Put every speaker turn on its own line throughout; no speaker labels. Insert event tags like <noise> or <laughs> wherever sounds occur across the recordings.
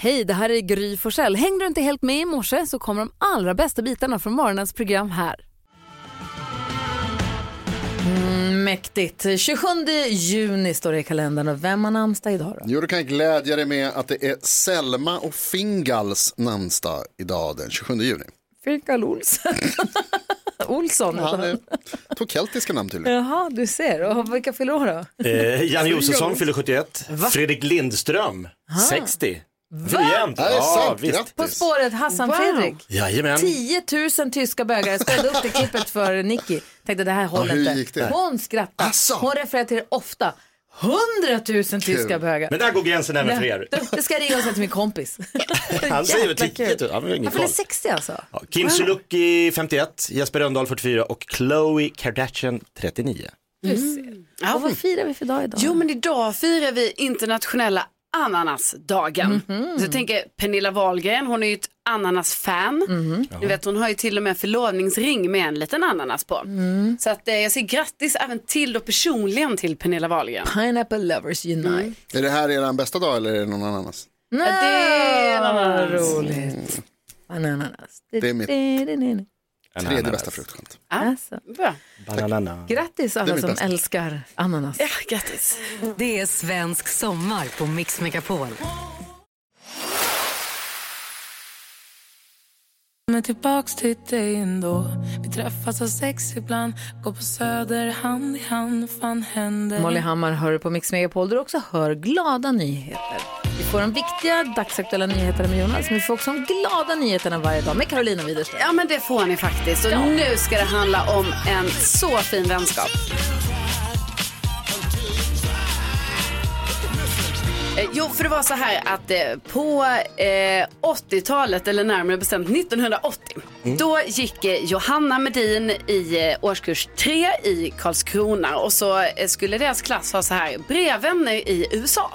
Hej, det här är Gry Forssell. Hängde du inte helt med i morse så kommer de allra bästa bitarna från morgonens program här. Mm, mäktigt. 27 juni står det i kalendern och vem har namnsdag idag då?
Jo, då kan jag glädja dig med att det är Selma och Fingals namnsdag idag den 27 juni.
Fingal Olsson. <laughs> Olsson.
Ja,
heter
Han
han.
eh, <laughs> tog keltiska namn tydligen.
Jaha, du ser. Och vilka fyller år då?
Eh,
<laughs>
Jan Josefsson fyller 71. Fredrik Lindström 60. Va? Jämnt.
Det är sant,
På
grattis.
spåret Hassan Fredrik.
Jajamän.
10 000 tyska bögar. Jag spelade upp det klippet för Nicky. Tänkte det här håller
hur
inte.
gick det?
Hon skrattade.
Asså.
Hon refererar till det ofta. 100 000 tyska bögar.
Men där går gränsen även för er.
Du, Det ska jag ringa och säga till min kompis.
<laughs> <laughs> Han säger väl 10
Jättekul.
000. Ja, men ingen
Han fyller
koll.
60 alltså.
Ja, Kim Sulocki 51, Jesper Rönndahl 44 och Khloe Kardashian 39.
Mm. Och vad firar vi för dag idag?
Jo men idag firar vi internationella ananasdagen.
Mhm.
Så jag tänker Pernilla Wahlgren, hon är ju ett ananasfan.
Mm.
Ni vet hon har ju till och med en förlovningsring med en liten ananas på.
Mm.
Så att, eh, jag säger grattis även till och personligen till Pernilla Wahlgren.
Pineapple Lovers Unite.
Mm.
Är det här er bästa dag eller är det någon annans?
No,
det är
vad
ananas.
roligt. Ah, Ananas.
Det är mitt- Tredje
Ananas.
bästa fruktskämt.
Alltså,
Bra.
Bananana.
grattis
Det är
alla
mitt
som
bästa.
älskar ananas.
Ja, grattis.
Det är svensk sommar på Mix Megapol.
Men tillbaks till dig ändå Vi träffas av sex ibland Går på söder hand i hand Fan händer
Mm.
Molly Hammar hör du på Mix Megapol där du också hör glada nyheter. Vi får de viktiga dagsaktuella nyheterna med Jonas, men vi får också de glada nyheterna varje dag med Carolina Widerström.
Ja men det får ni faktiskt. Och nu ska det handla om en så fin vänskap. Eh, Jo, för det var så här att eh, på eh, 80-talet, eller närmare bestämt 1980, då gick eh, Johanna Medin i eh, årskurs 3 i Karlskrona och så eh, skulle deras klass ha så här brevvänner i USA.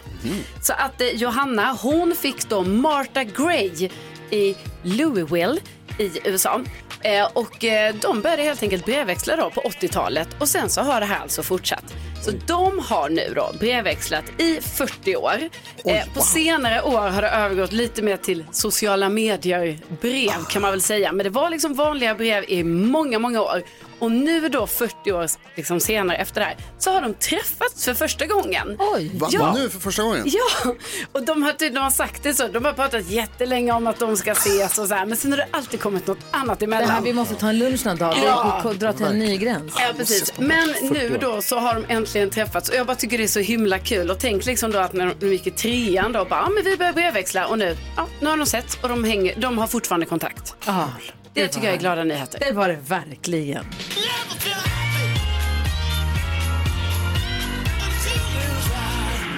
Så att eh, Johanna, hon fick då Martha Gray i Louisville i USA. Eh, och eh, de började helt enkelt brevväxla då på 80-talet och sen så har det här alltså fortsatt. Så de har nu då brevväxlat i 40 år. eh, på senare år har det övergått lite mer till sociala medier-brev kan man väl säga. Men det var liksom vanliga brev i många, många år. Och nu då 40 år liksom senare efter det här så har de träffats för första gången.
Oj!
Va?
Ja.
Nu för första gången?
Ja, och de har, tydligen- de har sagt det så. De har pratat jättelänge om att de ska ses och så här. Men sen har det alltid kommit något annat
Det
emellan.
här, vi måste ta en lunch någon dag
Ja.
och dra till en ny gräns.
Ja, precis. Men nu då så har de äntligen träffats och jag bara tycker det är så himla kul. Och tänk liksom då att när de- de gick i trean då bara, ja men vi börjar brevväxla och nu, ja nu har de sett och de hänger, de har fortfarande kontakt.
Ja,
Det tycker jag är glada nyheter.
det var det verkligen.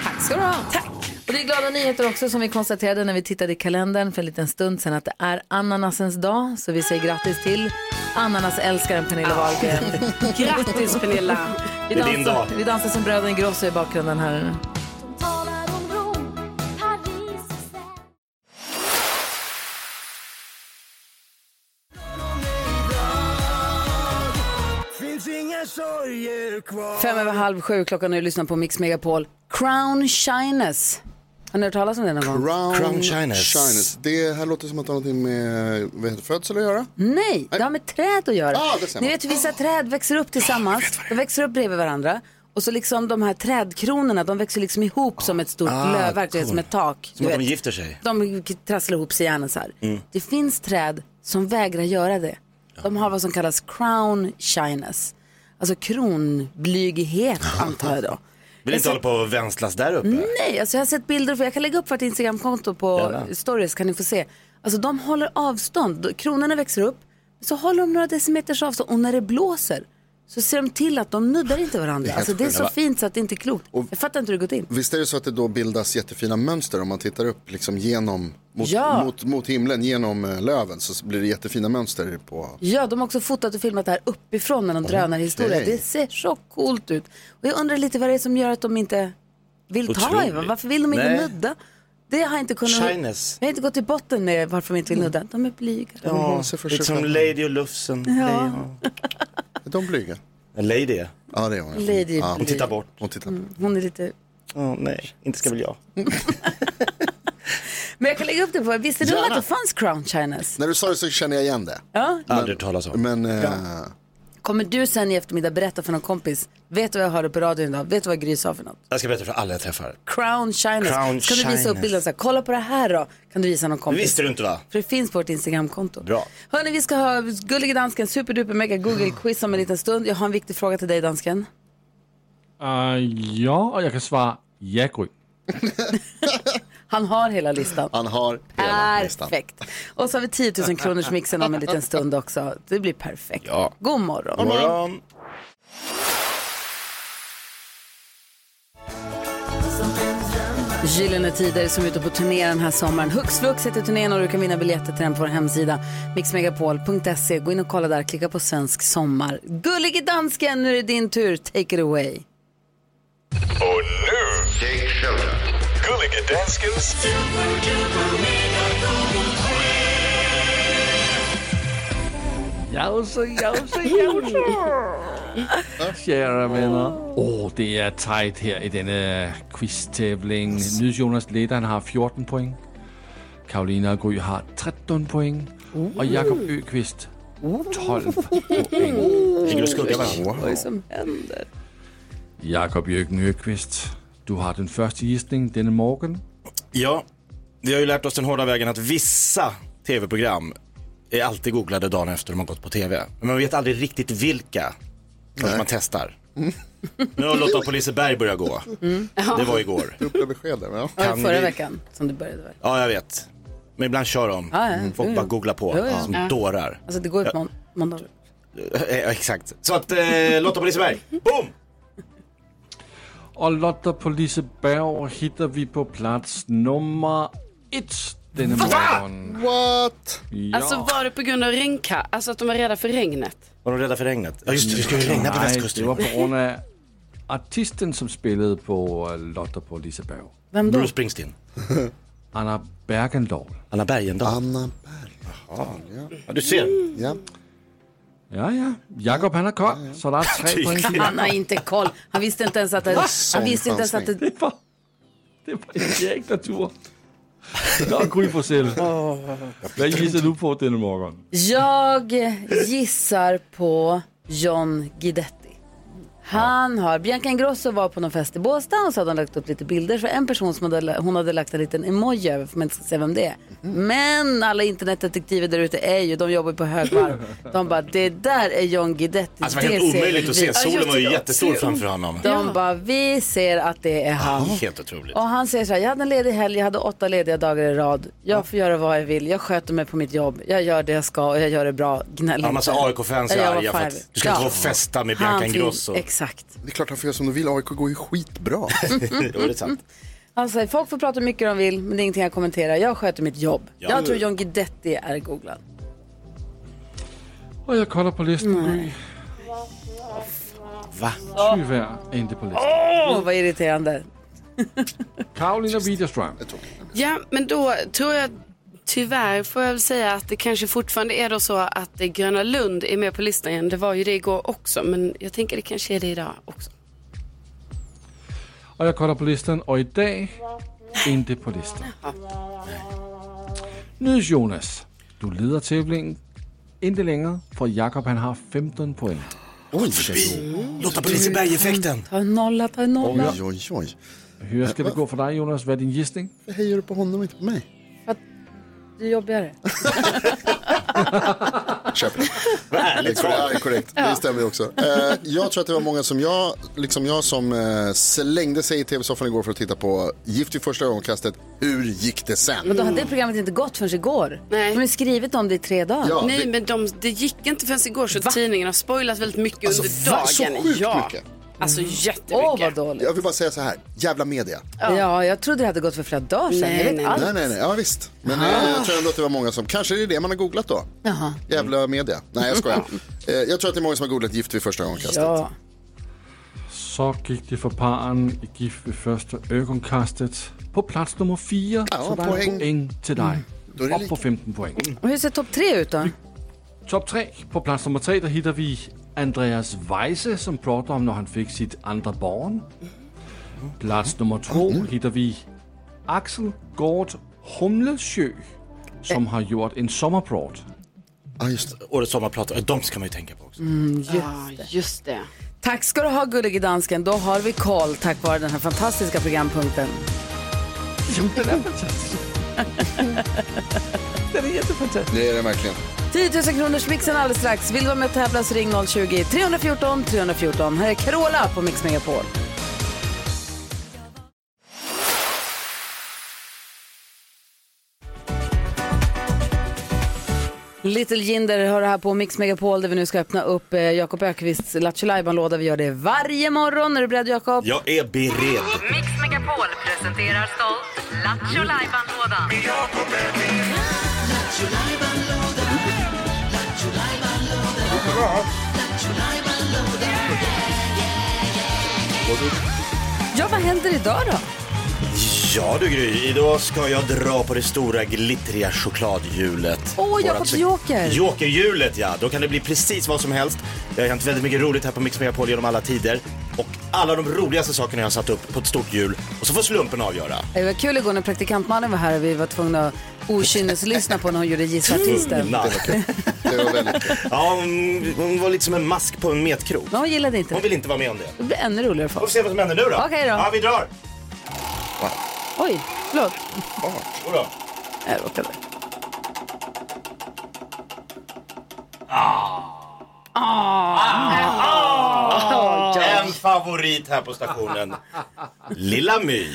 Tack ska du ha. Tack. Och det är glada nyheter också som vi konstaterade när vi tittade i kalendern för en liten stund sedan att det är ananasens dag. Så vi säger grattis till ananasälskaren Pernilla Wahlgren.
<laughs> Grattis Pernilla!
Vi
Det är din
dansar,
dag.
vi dansar som bröderna Ingrosso i bakgrunden här. Fem över halv sju klockan när du lyssnar på Mix Megapol. Crown Shyness. Har ni hört talas om det någon gång?
Crown,
Crown Shyness.
Shyness. Det här låter som att det har något med vad heter, det, födsel att göra.
Nej, det har med träd att göra.
Ah, det ser man.
ni vet hur vissa träd växer upp tillsammans. De växer upp bredvid varandra. Och så liksom de här trädkronorna, de växer liksom ihop som ett stort
Ah,
lövverk, det är som ett tak.
Som
du
att de
vet.
gifter sig. Mm.
De trasslar ihop sig i hjärnan så här. Det finns träd som vägrar göra det. De har vad som kallas crown shyness. Alltså kronblyghet antar jag då.
Vill inte hålla på och vänstlas där uppe.
Nej, alltså jag har sett bilder, för jag kan lägga upp vårt Instagramkonto på
Gärna.
stories kan ni få se. Alltså de håller avstånd, kronorna växer upp, så håller de några decimeters avstånd och när det blåser så ser de till att de nuddar inte varandra.
helt
alltså det är
sjukt.
så fint så att det inte är klokt. Jag fattar inte hur det gått in.
Visst är det så att det då bildas jättefina mönster om man tittar upp liksom genom, mot,
Ja.
mot, mot himlen, genom eh, löven så blir det jättefina mönster på...
Ja, de har också fotat och filmat det här uppifrån när de drönarhistoria.
Okej.
Det ser så coolt ut. Och jag undrar lite vad det är som gör att de inte vill ta i
Otroligt.
varandra. Varför vill de inte
Nej.
nudda? Det har jag inte kunnat...
Shyness.
Jag har inte gått till botten med varför de inte vill nudda. De är blyga.
Ja, se för sig
Mm. Lite som
själv.
Lady och Lufsen. Ja.
Är de blyga?
Lady är.
Ja, det är hon.
Lady Mm.
ja.
Bly.
Titta bort.
Hon tittar.
Hon är lite...
Åh, nej, inte ska väl jag.
Men jag kan lägga upp det på, visste du
Gärna.
att det fanns crown chinas?
När du sa det så kände jag igen det.
Ja.
Aldrig talas om.
Men eh,
Kommer du sen i eftermiddag berätta för någon kompis, vet du vad jag hörde på radion idag, vet du vad Gry sa för något?
Jag ska berätta för alla jag träffar.
Crown chinas.
Crown
kan du visa upp
China's.
bilden så här, kolla på det här då, kan du visa någon
Det
kompis?
visste du inte va?
För det finns på vårt Instagramkonto.
Bra. Mm.
Hörni, vi ska ha Gullige Dansken superduper mega Google-quiz om en liten stund. Jag har en viktig fråga till dig dansken.
Uh, ja, och jag kan svara ja, Gry.
Han har hela listan.
han har hela listan.
Perfekt. Och så har vi 10 000 kronors mixen om en liten stund också. Det blir perfekt.
Ja.
God morgon.
Morgon.
Gyllene Tider som är ute på turné den här sommaren. Hux flux heter turnén och du kan vinna biljetter till den på vår hemsida mixmegapol.se. Gå in och kolla där, klicka på svensk sommar. Gullige dansken, nu är det din tur. Take it away.
Och nu, Jake Shelton. Gullige Danskens
Jause, jause, jause. Kära vänner. Åh, det är tight här i denna quiztävling. Jonas ledaren har 14 poäng. Karolina Gry har 13 poäng. Och Jakob Öqvist 12 poäng.
Ligger och skuggar varandra.
Vad är det som händer?
Jakob Jørgen Öqvist, du har den första gissningen denna morgon.
Ja, vi har ju lärt oss den hårda vägen att vissa tv-program är alltid googlade dagen efter de har gått på tv. Men man vet aldrig riktigt vilka förrän man testar.
Mm.
Nu har Lotta på Liseberg börjat gå. Det var igår.
Dubbla besked där, men ja.
Ja,
Kan
förra
vi-
veckan som du började. va?
Ja, jag vet. Men ibland kör de. Mm.
Ja, ja.
Folk bara googlar på
Ja, ja.
som dårar.
Alltså det går ju på må- måndag.
Ja, exakt. Så att eh, Lotta på Liseberg, boom!
Och Lotta på Liseberg hittar vi på plats nummer ett denna morgon.
What?
Ja.
Alltså var det på grund av regnka? Alltså att de var rädda för regnet?
Var de rädda för regnet? Ja, just det, det ska ju regna på
Nej, det var
västkusten.
på
<laughs>
grund av artisten som spelade på eh, Lotta på Liseberg.
Vem då?
Bruce Springsteen,
<laughs> Anna Bergendahl.
Anna Bergendahl.
Anna Berg.
Ja, du ser.
Ja.
Ja, ja. Jakob han har koll, så det
<laughs>
är tre poäng till.
Han har inte koll. Han visste inte ens att det... Han
Sån
visste inte ens att det...
Det var, det var en jäkla tur. Nå,
<laughs>
Gry Forssell. Vad gissar du på denna morgon?
Jag gissar på John Guidetti. Han har, Bianca Ingrosso var på någon fest i Båstad och så hade hon lagt upp lite bilder. Så en person som hade, hon hade lagt en liten emoji över för man inte ska se vem det är.
Mm.
Men alla internetdetektiver där ute är ju, de jobbar ju på
<laughs>
högvarv. De bara, det där är John Guidetti.
Alltså det var helt
ser
omöjligt att se.
vi."
Solen var ju
Ja, just det.
jättestor framför honom.
De bara, vi ser att det är han.
Helt otroligt.
Och han säger så här, jag hade en ledig helg, jag hade åtta lediga dagar i rad. Jag får göra vad jag vill, jag sköter mig på mitt jobb, jag gör det jag ska och jag gör det bra. Gnäll
Ja, en massa
inte.
AIK-fans är
Jag gör
arga
vad fan
för
jag
att
vill.
du ska inte gå och festa med
Han
Bianca
fin-
Ingrosso.
Exakt.
Det är klart han får göra som du vill. AIK går ju
<laughs>
skitbra. Mm.
Då är det sant.
Han säger, folk får prata hur mycket de vill, men det är ingenting jag kommenterar. Jag sköter mitt jobb.
Ja.
Jag tror John Guidetti är googlad.
Och jag kollar på listan. Nej.
Va?
Tyvärr inte på listan.
Åh, vad irriterande.
Karolina Widerström.
Ja, men då tror jag tyvärr får jag väl säga att det kanske fortfarande är då så att eh, Gröna Lund är med på listan igen. Det var ju det igår också, men jag tänker det kanske är det idag också.
Och jag kollar på listan och idag inte på listan. Nu Jonas, du leder tävlingen inte längre för Jakob han har 15 poäng.
Oj, Lotta på Liseberg-effekten.
Ta en nolla, ta en nolla.
Oj, oj, oj.
Hur ska det gå för dig Jonas? Vad är din gissning?
Varför hejar du på honom och inte på mig?
Det är jobbigare.
Köp det.
Vad
Det är korrekt. Ja,
ärligt svar.
det är korrekt. Det stämmer ju också. Eh, jag tror att det var många som jag, liksom jag som eh, slängde sig i tv-soffan igår för att titta på Gift i första ögonkastet. Hur gick det
Då
sen?
hade det programmet inte gått förrän igår.
Nej.
De har ju skrivit om det i tre dagar.
Ja,
Nej,
det-
men de, det gick inte förrän igår så tidningen har spoilat väldigt mycket under
Alltså, va?
dagen.
Så sjukt
ja.
mycket.
Alltså
Åh,
jättemycket.
vad dåligt.
Jag vill bara säga så här, jävla media.
Ja. jag trodde det hade gått för flera dagar sedan.
Nej,
jag vet
nej,
allt.
Nej, nej, nej, ja visst. Men eh, jag tror ändå att det var många som, kanske det är det man har googlat då.
Jaha.
Jävla media. Nej, jag skojar. Eh, jag tror att det är många som har googlat Gift vid första ögonkastet.
Mm.
<laughs>
Ja.
Så gick det för paren i GIF vid första ögonkastet på plats nummer 4.
Ja,
så det är
poäng.
en poäng till dig.
Då är det
Upp på 15 poäng.
Och hur ser topp tre ut
Mm,
då?
Top 3. På plats nummer 3 där hittar vi Andreas Weise som pratar om när han fick sitt andra barn. Plats nummer 2 hittar vi Axel Gård Humlesjö som har gjort en sommarprat.
Ja, just det.
Årets sommarpratare, de ska man ju tänka på också.
Ja, just det.
Mm, Tack ska du ha gullige dansken. Då har vi koll tack vare den här fantastiska programpunkten.
Det är det verkligen.
10 000 kronors mixen alldeles strax. Vill du vara med och tävla så ring 020-314 314. Här är Carola på Mix Megapol. Little Jinder hör här på Mix Megapol där vi nu ska öppna upp eh, Jakob Ökvists Lattjo Lajban-låda. Vi gör det varje morgon. Är du beredd Jakob?
Jag är beredd.
Mix Megapol presenterar stolt Lattjo Lajban-lådan.
Ja, vad händer idag då?
Ja du Gry, idag ska jag dra på det stora glittriga chokladhjulet.
Åh,
Vårat
Jakobs
så-
joker.
Jokerhjulet ja, då kan det bli precis vad som helst. Det har hänt väldigt mycket roligt här på Mix Megapol genom alla tider. Och alla de roligaste sakerna jag har satt upp på ett stort hjul och så får slumpen avgöra.
Det var kul igår när praktikantmannen var här och vi var tvungna att okynneslyssna på när hon gjorde Gissa Artisten.
Tunna.
Det var väldigt kul.
Mm, Ja, hon, hon var lite som en mask på en metkrok.
Men hon gillade inte
Hon
det.
vill inte vara med om det.
Det blir ännu roligare för
Vi får
oss.
se vad som händer nu då.
Okej då.
Ja, vi drar.
Oj, förlåt.
Och då.
Jag råkade. Ah.
En favorit här
<laughs>
på stationen. Lilla My.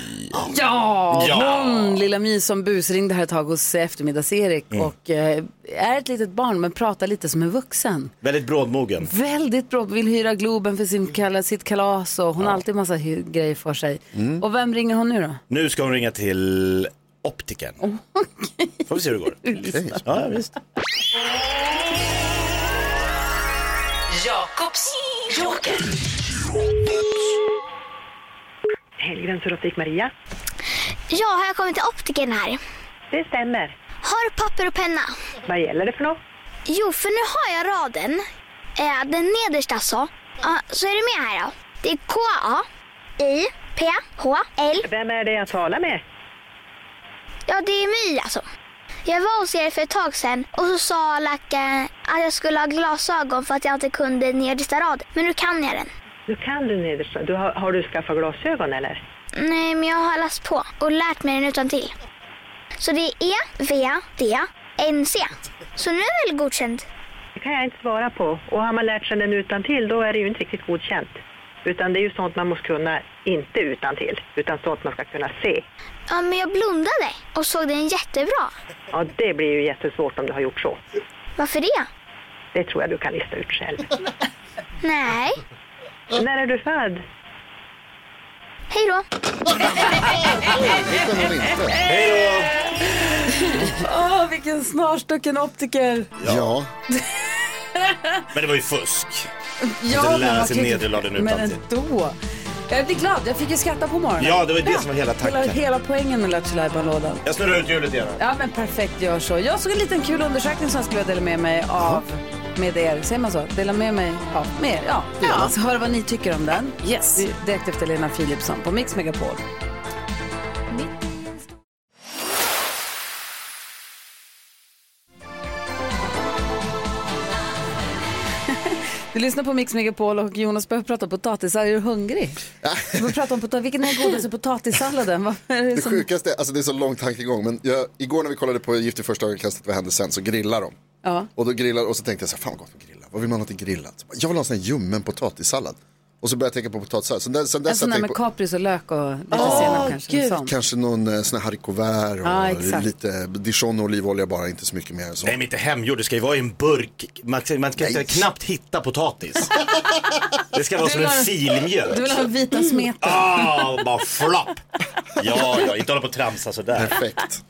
Ja,
Ja.
hon, lilla My som busringde här ett tag hos eftermiddags-Erik
Mm.
och eh, är ett litet barn men pratar lite som en vuxen.
Väldigt brådmogen.
Väldigt bra, vill hyra Globen för sin, kala- sitt kalas och hon har alltid massa hy- grejer för sig.
Mm.
Och vem ringer hon nu då?
Nu ska hon ringa till optiken. Får vi se hur det går.
Okej.
Ja, visst.
Jakobs joker.
Helgens Rosik Maria.
Ja, har jag kommit till optiken här?
Det stämmer.
Har du papper och penna?
Vad gäller det för något?
Jo, för nu har jag raden. Eh, den nedersta alltså. Ja, så är du med här då. Det är K-A-I-P-H-L.
Vem är det jag talar med?
Ja, det är My alltså. Jag var hos er för ett tag sedan och så sa läkaren att jag skulle ha glasögon för att jag inte kunde nedersta raden. Men nu kan jag den.
Nu kan du nedersta. Du har, har du skaffat glasögon eller?
Nej, men jag har läst på och lärt mig den utan till. Så det är E-V-D-N-C. Så nu är det väl godkänt?
Det kan jag inte svara på. Och har man lärt sig den utan till, då är det ju inte riktigt godkänt. Utan det är ju sånt man måste kunna, inte utan till, utan sånt man ska kunna se.
Ja, men jag blundade och såg den jättebra.
Ja, det blir ju jättesvårt om du har gjort så.
Varför det?
Det tror jag du kan lista ut själv.
Nej.
När är du född?
Hej då.
Det kunde hon inte.
Åh, vilken snarstucken optiker!
Ja.
Men det var ju fusk.
Ja,
lära
man
sig
kan ju-
nederlagen
Men
utantill.
ändå. Jag blir glad, jag fick ju skratta på morgonen.
Ja, det var ju det som var hela
Hela,
tanken.
hela poängen med Lattjo Lajban-lådan.
Jag snurrar ut hjulet igen.
Ja men perfekt, gör så. Jag såg en liten kul undersökning som jag skulle vilja dela med mig av med er. Säger man så? Dela med mig av med er? Ja. ja. Så hör vad ni tycker om den.
Yes.
Vi- Direkt efter Lena Philipsson på Mix Megapol. Du lyssnar på Mix Megapol och Jonas börjar prata om potatissallad. Är du hungrig? Vi pratar om potat- Vilken är godaste potatissalladen? Vad är det
Det
som...
sjukaste, alltså det är så lång tankegång, men jag, igår när vi kollade på Gift i första ögonkastet, vad hände sen, så grillar de.
Ja.
Och då grillar, och så tänkte jag så här, fan vad gott med grilla, vad vill man ha till grillat? Jag vill ha en sån här ljummen potatissallad. Och så började jag tänka på potatissallad, sen, där, sen
En
dess
sån
har
där
jag
Alltså med
tänkt på
kapris och lök och lite senap kanske. en sån.
kanske någon eh, sån här haricots
Ja,
och
exakt.
lite dijon och olivolja bara, inte så mycket mer. än Så.
Nej, men inte hemgjord. Det ska ju vara i en burk. Man ska, man ska
Nej.
knappt
<laughs>
hitta potatis. Det ska vara som en
har- Du vill
filmjölk.
ha vita smeten.
Ah, bara flopp. Ja, ja, inte hålla på och tramsa sådär.
Perfekt.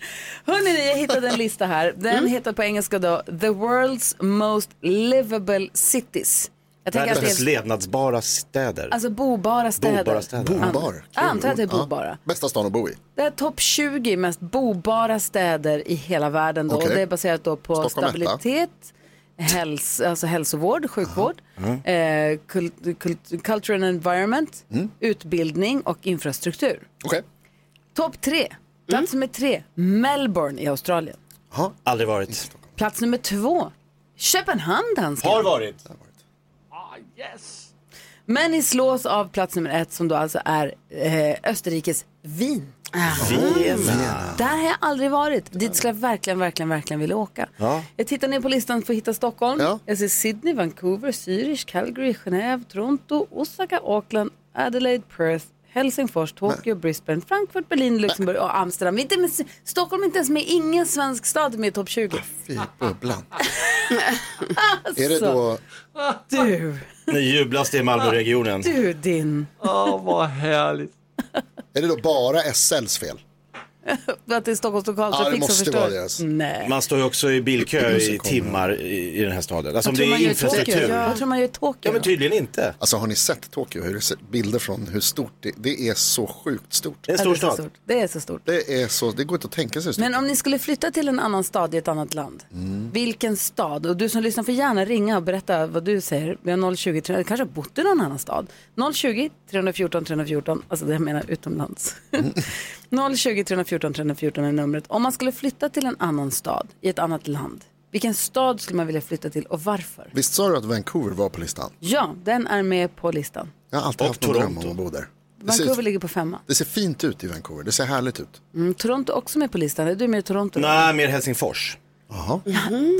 Hörrni, jag hittade en lista här. Den
Mm.
heter på engelska då The World's Most Livable Cities. Jag tänker att det
Världens
är
levnadsbara städer.
alltså bobara städer.
Bobara städer.
Bobar. Kul.
Jag antar att det är Bobara.
Ja, bästa stan att bo i.
Det är topp 20 mest bobara städer i hela världen. Då.
Okej.
Och det är baserat då på
Stockholm etta.
stabilitet, häls alltså hälsovård, sjukvård, eh, kul- kul- culture and environment, utbildning och infrastruktur.
Mm. Okej.
Topp tre Plats
Mm.
nummer tre, Melbourne i Australien.
Ha?
Aldrig varit.
Plats nummer två, Köpenhamn, dansken.
Har varit.
Ah,
Men ni slås av plats nummer ett som då alltså är eh, Österrikes Wien.
Vena.
Där har jag aldrig varit. Dit skulle jag verkligen, verkligen, verkligen vilja åka.
Ja.
Jag tittar ner på listan för att hitta Stockholm.
Ja.
Jag ser Sydney, Vancouver, Zürich, Calgary, Genève, Toronto, Osaka, Auckland, Adelaide, Perth, Helsingfors, Tokyo, Brisbane, Frankfurt, Berlin, Luxemburg och Amsterdam. Inte med, Stockholm är inte ens med. Ingen svensk stad är med i topp 20.
Fy bubblan. <laughs> Är det
Alltså.
då...
Du,
Nu jublas det i <laughs> Malmöregionen.
du din.
Åh, vad härligt.
Är det då bara SLs fel?
Att det är Stockholms
Ja, det alltså.
lokaltrafik som
måste vara
förstör.
deras.
Nej.
Man står ju också i bilkö
Sen
i
kommer-
timmar i, i den här staden. Alltså om
Vad
det
tror man
är
gör i Tokyo?
infrastruktur.
Vad tror man gör i Tokyo?
Ja men
då?
tydligen inte.
Alltså har ni sett Tokyo? Hur det ser, bilder från hur stort det, det är så sjukt stort.
Det är en
Ja,
stor
det är så
stad.
stort. Det är så stort.
Det är så, det går inte att tänka sig hur stort.
Men om ni skulle flytta till en annan stad i ett annat land, vilken stad? Och du som lyssnar får gärna ringa och berätta vad du säger. Vi har 020, tre- kanske har bott i någon annan stad. 020 314 314, alltså det jag menar
<laughs>
utomlands. 020 314 314 är numret. Om man skulle flytta till en annan stad i ett annat land, vilken stad skulle man vilja flytta till och varför?
Visst sa du att Vancouver var på listan?
Ja, den är med på listan.
Jag har alltid
Och
haft en dröm om
Toronto.
att bo där. Det
Vancouver
ser,
ligger på femma.
det ser fint ut i Vancouver. Det ser härligt ut.
Mm, Toronto också med på listan. Är du med i Toronto? Mm.
Nej, mer Helsingfors.
Jaha.
Där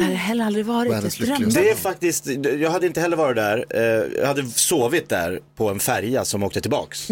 har jag heller aldrig varit.
Världens
Jag drömde
lyckligaste.
Det är faktiskt, jag hade inte heller varit där. Eh, Jag hade sovit där på en färja som åkte tillbaks.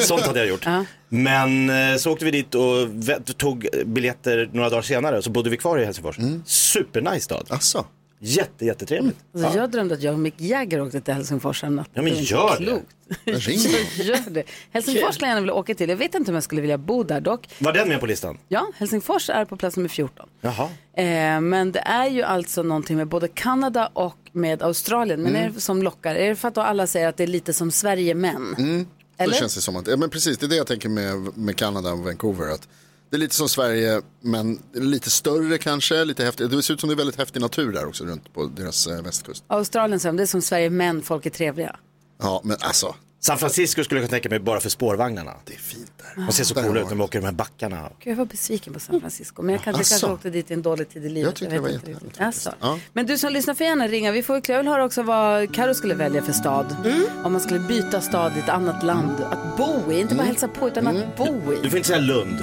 Sånt hade jag gjort. Men eh, så åkte vi dit och vä- tog biljetter några dagar senare och så bodde vi kvar i Helsingfors.
Mm.
Supernice stad.
Alltså,
Jätte, jättetrevligt.
Alltså, Jag drömde att jag och Mick Jagger åkte till Helsingfors en natt.
Ja, men
Det är inte
gör det.
klokt.
där ringer
Gör det. Helsingfors skulle jag gärna vilja åka till. Jag vet inte om jag skulle vilja bo där dock.
Var den med på listan?
Ja, Helsingfors är på plats nummer 14.
Jaha.
Eh, men det är ju alltså någonting med både Kanada och med Australien. Men
Mm.
är det som lockar? Är det för att då alla säger att det är lite som Sverige men?
Mm. Det
Eller?
känns det som att, ja, men precis, det är det jag tänker med, med Kanada och Vancouver. Att det är lite som Sverige, men lite större kanske. Lite häftigt. Det ser ut som det är väldigt häftig natur där också runt på deras eh, västkust.
Australien säger de, det är som Sverige men, folk är trevliga.
Ja, men alltså,
San Francisco skulle jag kunna tänka mig bara för spårvagnarna.
det är fint där.
De ser så
Där
coola
har
ut när de åker de här backarna.
Gud, jag var besviken på San Francisco, men jag kanske,
Asså.
kanske åkte dit i en dålig tid i livet.
Jag tycker det var
vet inte
jättehärligt
riktigt. Asså.
Ja.
Men du som lyssnar får gärna ringa. Vi får ju klart höra också vad Karo skulle välja för stad.
Mm.
Om man skulle byta stad i ett annat land att bo i. Inte
Mm.
bara hälsa på, utan att bo
Du
i.
får inte säga Lund.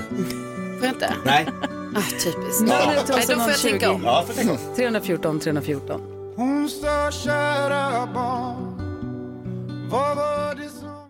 Får jag inte?
Nej.
Ah, typiskt.
Nu
Nej,
är det till
då
oss
får jag
020.
tänka om.
Ja, får tänka om.
314 314.
Hon sa kära barn, vad var det som...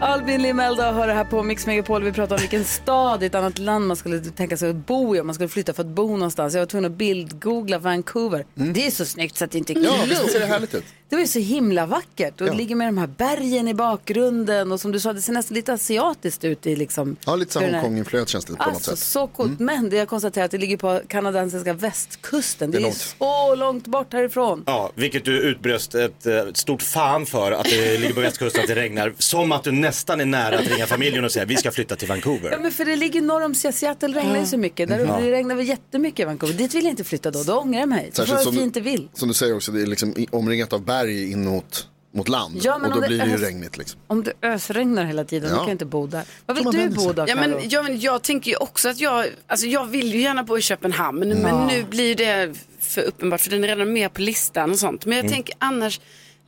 Albin Limelda hör det här på Mix Megapol. Vi pratar om vilken stad i ett annat land man skulle tänka sig att bo i om man skulle flytta för att bo någonstans. Jag var tvungen att bildgoogla Vankouver. Det är så snyggt så att det inte är
Mm. Ja,
klokt.
visst ser det härligt ut.
Det var ju så himla vackert och det ligger med de här bergen i bakgrunden och som du sa, det ser nästan lite asiatiskt ut i liksom.
Ja, lite så
hur den här-
Hongkong-influerat känns det på något
Alltså
sätt. Mm.
så coolt, men det jag konstaterar att det ligger på kanadensiska västkusten. Det
Det
är,
är långt.
så långt bort härifrån.
Ja, vilket du utbröst ett, eh, ett stort fan för att det ligger på västkusten att det regnar. Som att du nästan är nära att ringa familjen och säga vi ska flytta till
Ja
Vancouver.
men för det ligger norr om Se- Seattle regnar ju så mycket.
Mm.
Där Det regnar väl jättemycket i Vancouver. Dit vill jag inte flytta då, då ångrar jag mig. Så får jag fint det vill.
som du säger också, det är liksom i- omringat av berg in mot, mot land.
Ja, men
och då
om det
blir det ju
är-
regnigt liksom.
Om det ösregnar hela tiden, då
Ja.
kan jag inte bo där. Vad
Får
vill
man
du
vänja sig?
bo då,
Ja,
Karo?
men, ja, men jag tänker ju också att jag, alltså jag vill ju gärna bo i Köpenhamn men nu blir ju det för uppenbart för den är redan med på listan och sånt. Men jag tänker annars,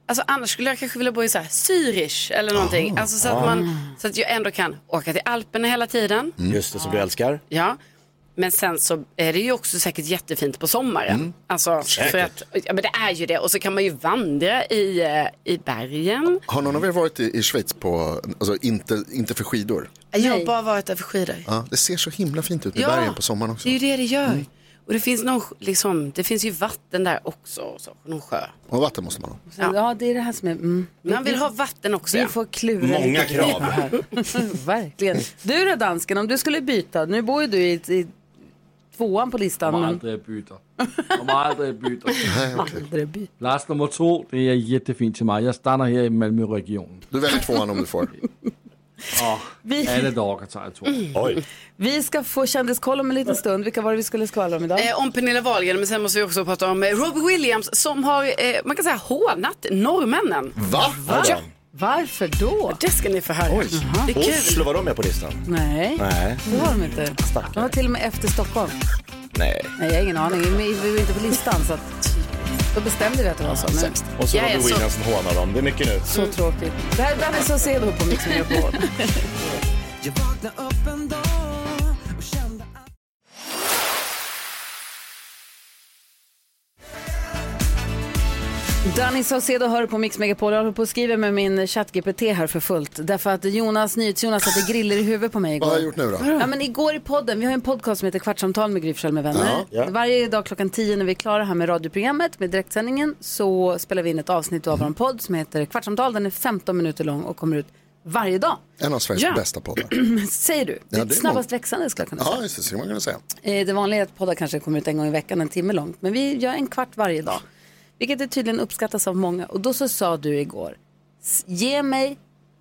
alltså annars skulle jag kanske vilja bo i så här Zürich eller någonting. Alltså så att, man, så att jag ändå kan åka till Alperna hela tiden.
Just det, som du älskar.
Ja. Men sen så är det ju också säkert jättefint på sommaren. Alltså, för att, ja, men det är ju det. Och så kan man ju vandra i, eh, i bergen.
Har någon av er varit i, i Schweiz på, alltså inte, inte för skidor?
Jag har bara varit där för skidor.
Ja, det ser så himla fint ut med bergen på sommaren också.
det är ju det det gör. Och det finns, någon, sj- liksom, det finns ju vatten där också, och så, någon sjö.
Och vatten måste man ha.
ja. det är det här som är... Mm.
Man vill ha vatten också.
Vi
Ja.
får klura
Många
lite grann
<laughs>
krav.
här. Verkligen. Du då dansken, om du skulle byta, nu bor ju du i, i tvåan på listan.
Om
Men
aldrig byter. Om aldrig byter.
aldrig byta.
Plats nummer två, det är jättefint till mig. Jag stannar här i Malmöregionen.
Du väljer tvåan om du
<laughs>
får.
Vi,
Alla dagar tar jag två.
Mm.
Oj.
vi ska få kändiskoll om en liten stund. Vilka var det vi skulle skvallra om idag?
Eh, om Pernilla Wahlgren, men sen måste vi också prata om eh, Robbie Williams som har, eh, man kan säga hånat norrmännen.
Va?
Ja,
Varför då?
Det ska ni få höra.
Oj.
Jaha.
Det är kul. Oslo, var de med på listan?
Nej,
Nej.
det har de inte. De var till och med efter Stockholm.
Nej.
Nej, jag har ingen aning. Vi vi var inte på listan så att då bestämde vi att det var så. Men...
Och så
Jag
Robbie
är så-
Williams som hånar dem. Det är mycket nu.
Mm.
Så tråkigt. Det här är Danny Saucedo på Mix Megapol. Danny Saucedo hör på Mix Megapol. Jag håller på och skriver med min ChatGPT här för fullt. Därför att Jonas, NyhetsJonas satte griller i huvudet på mig igår.
Vad har jag gjort nu då?
Ja, men igår i podden, vi har en podcast som heter Kvartsamtal med Gry Forssell med vänner.
Ja, ja.
Varje dag klockan 10 när vi är klara här med radioprogrammet, med direktsändningen, så spelar vi in ett avsnitt av vår podd som heter Kvartsamtal. Den är 15 minuter lång och kommer ut varje dag.
En av Sveriges
Ja.
bästa poddar.
<clears throat> Säger du?
det är
det
många.
snabbast växande skulle jag kunna säga.
Ja, just det, så kan man kunna säga.
Eh, Det vanliga är att poddar kanske kommer ut en gång i veckan, en timme långt. Men vi gör en kvart varje dag. Vilket är tydligen uppskattas av många. Och då så sa du igår, "S- ge mig,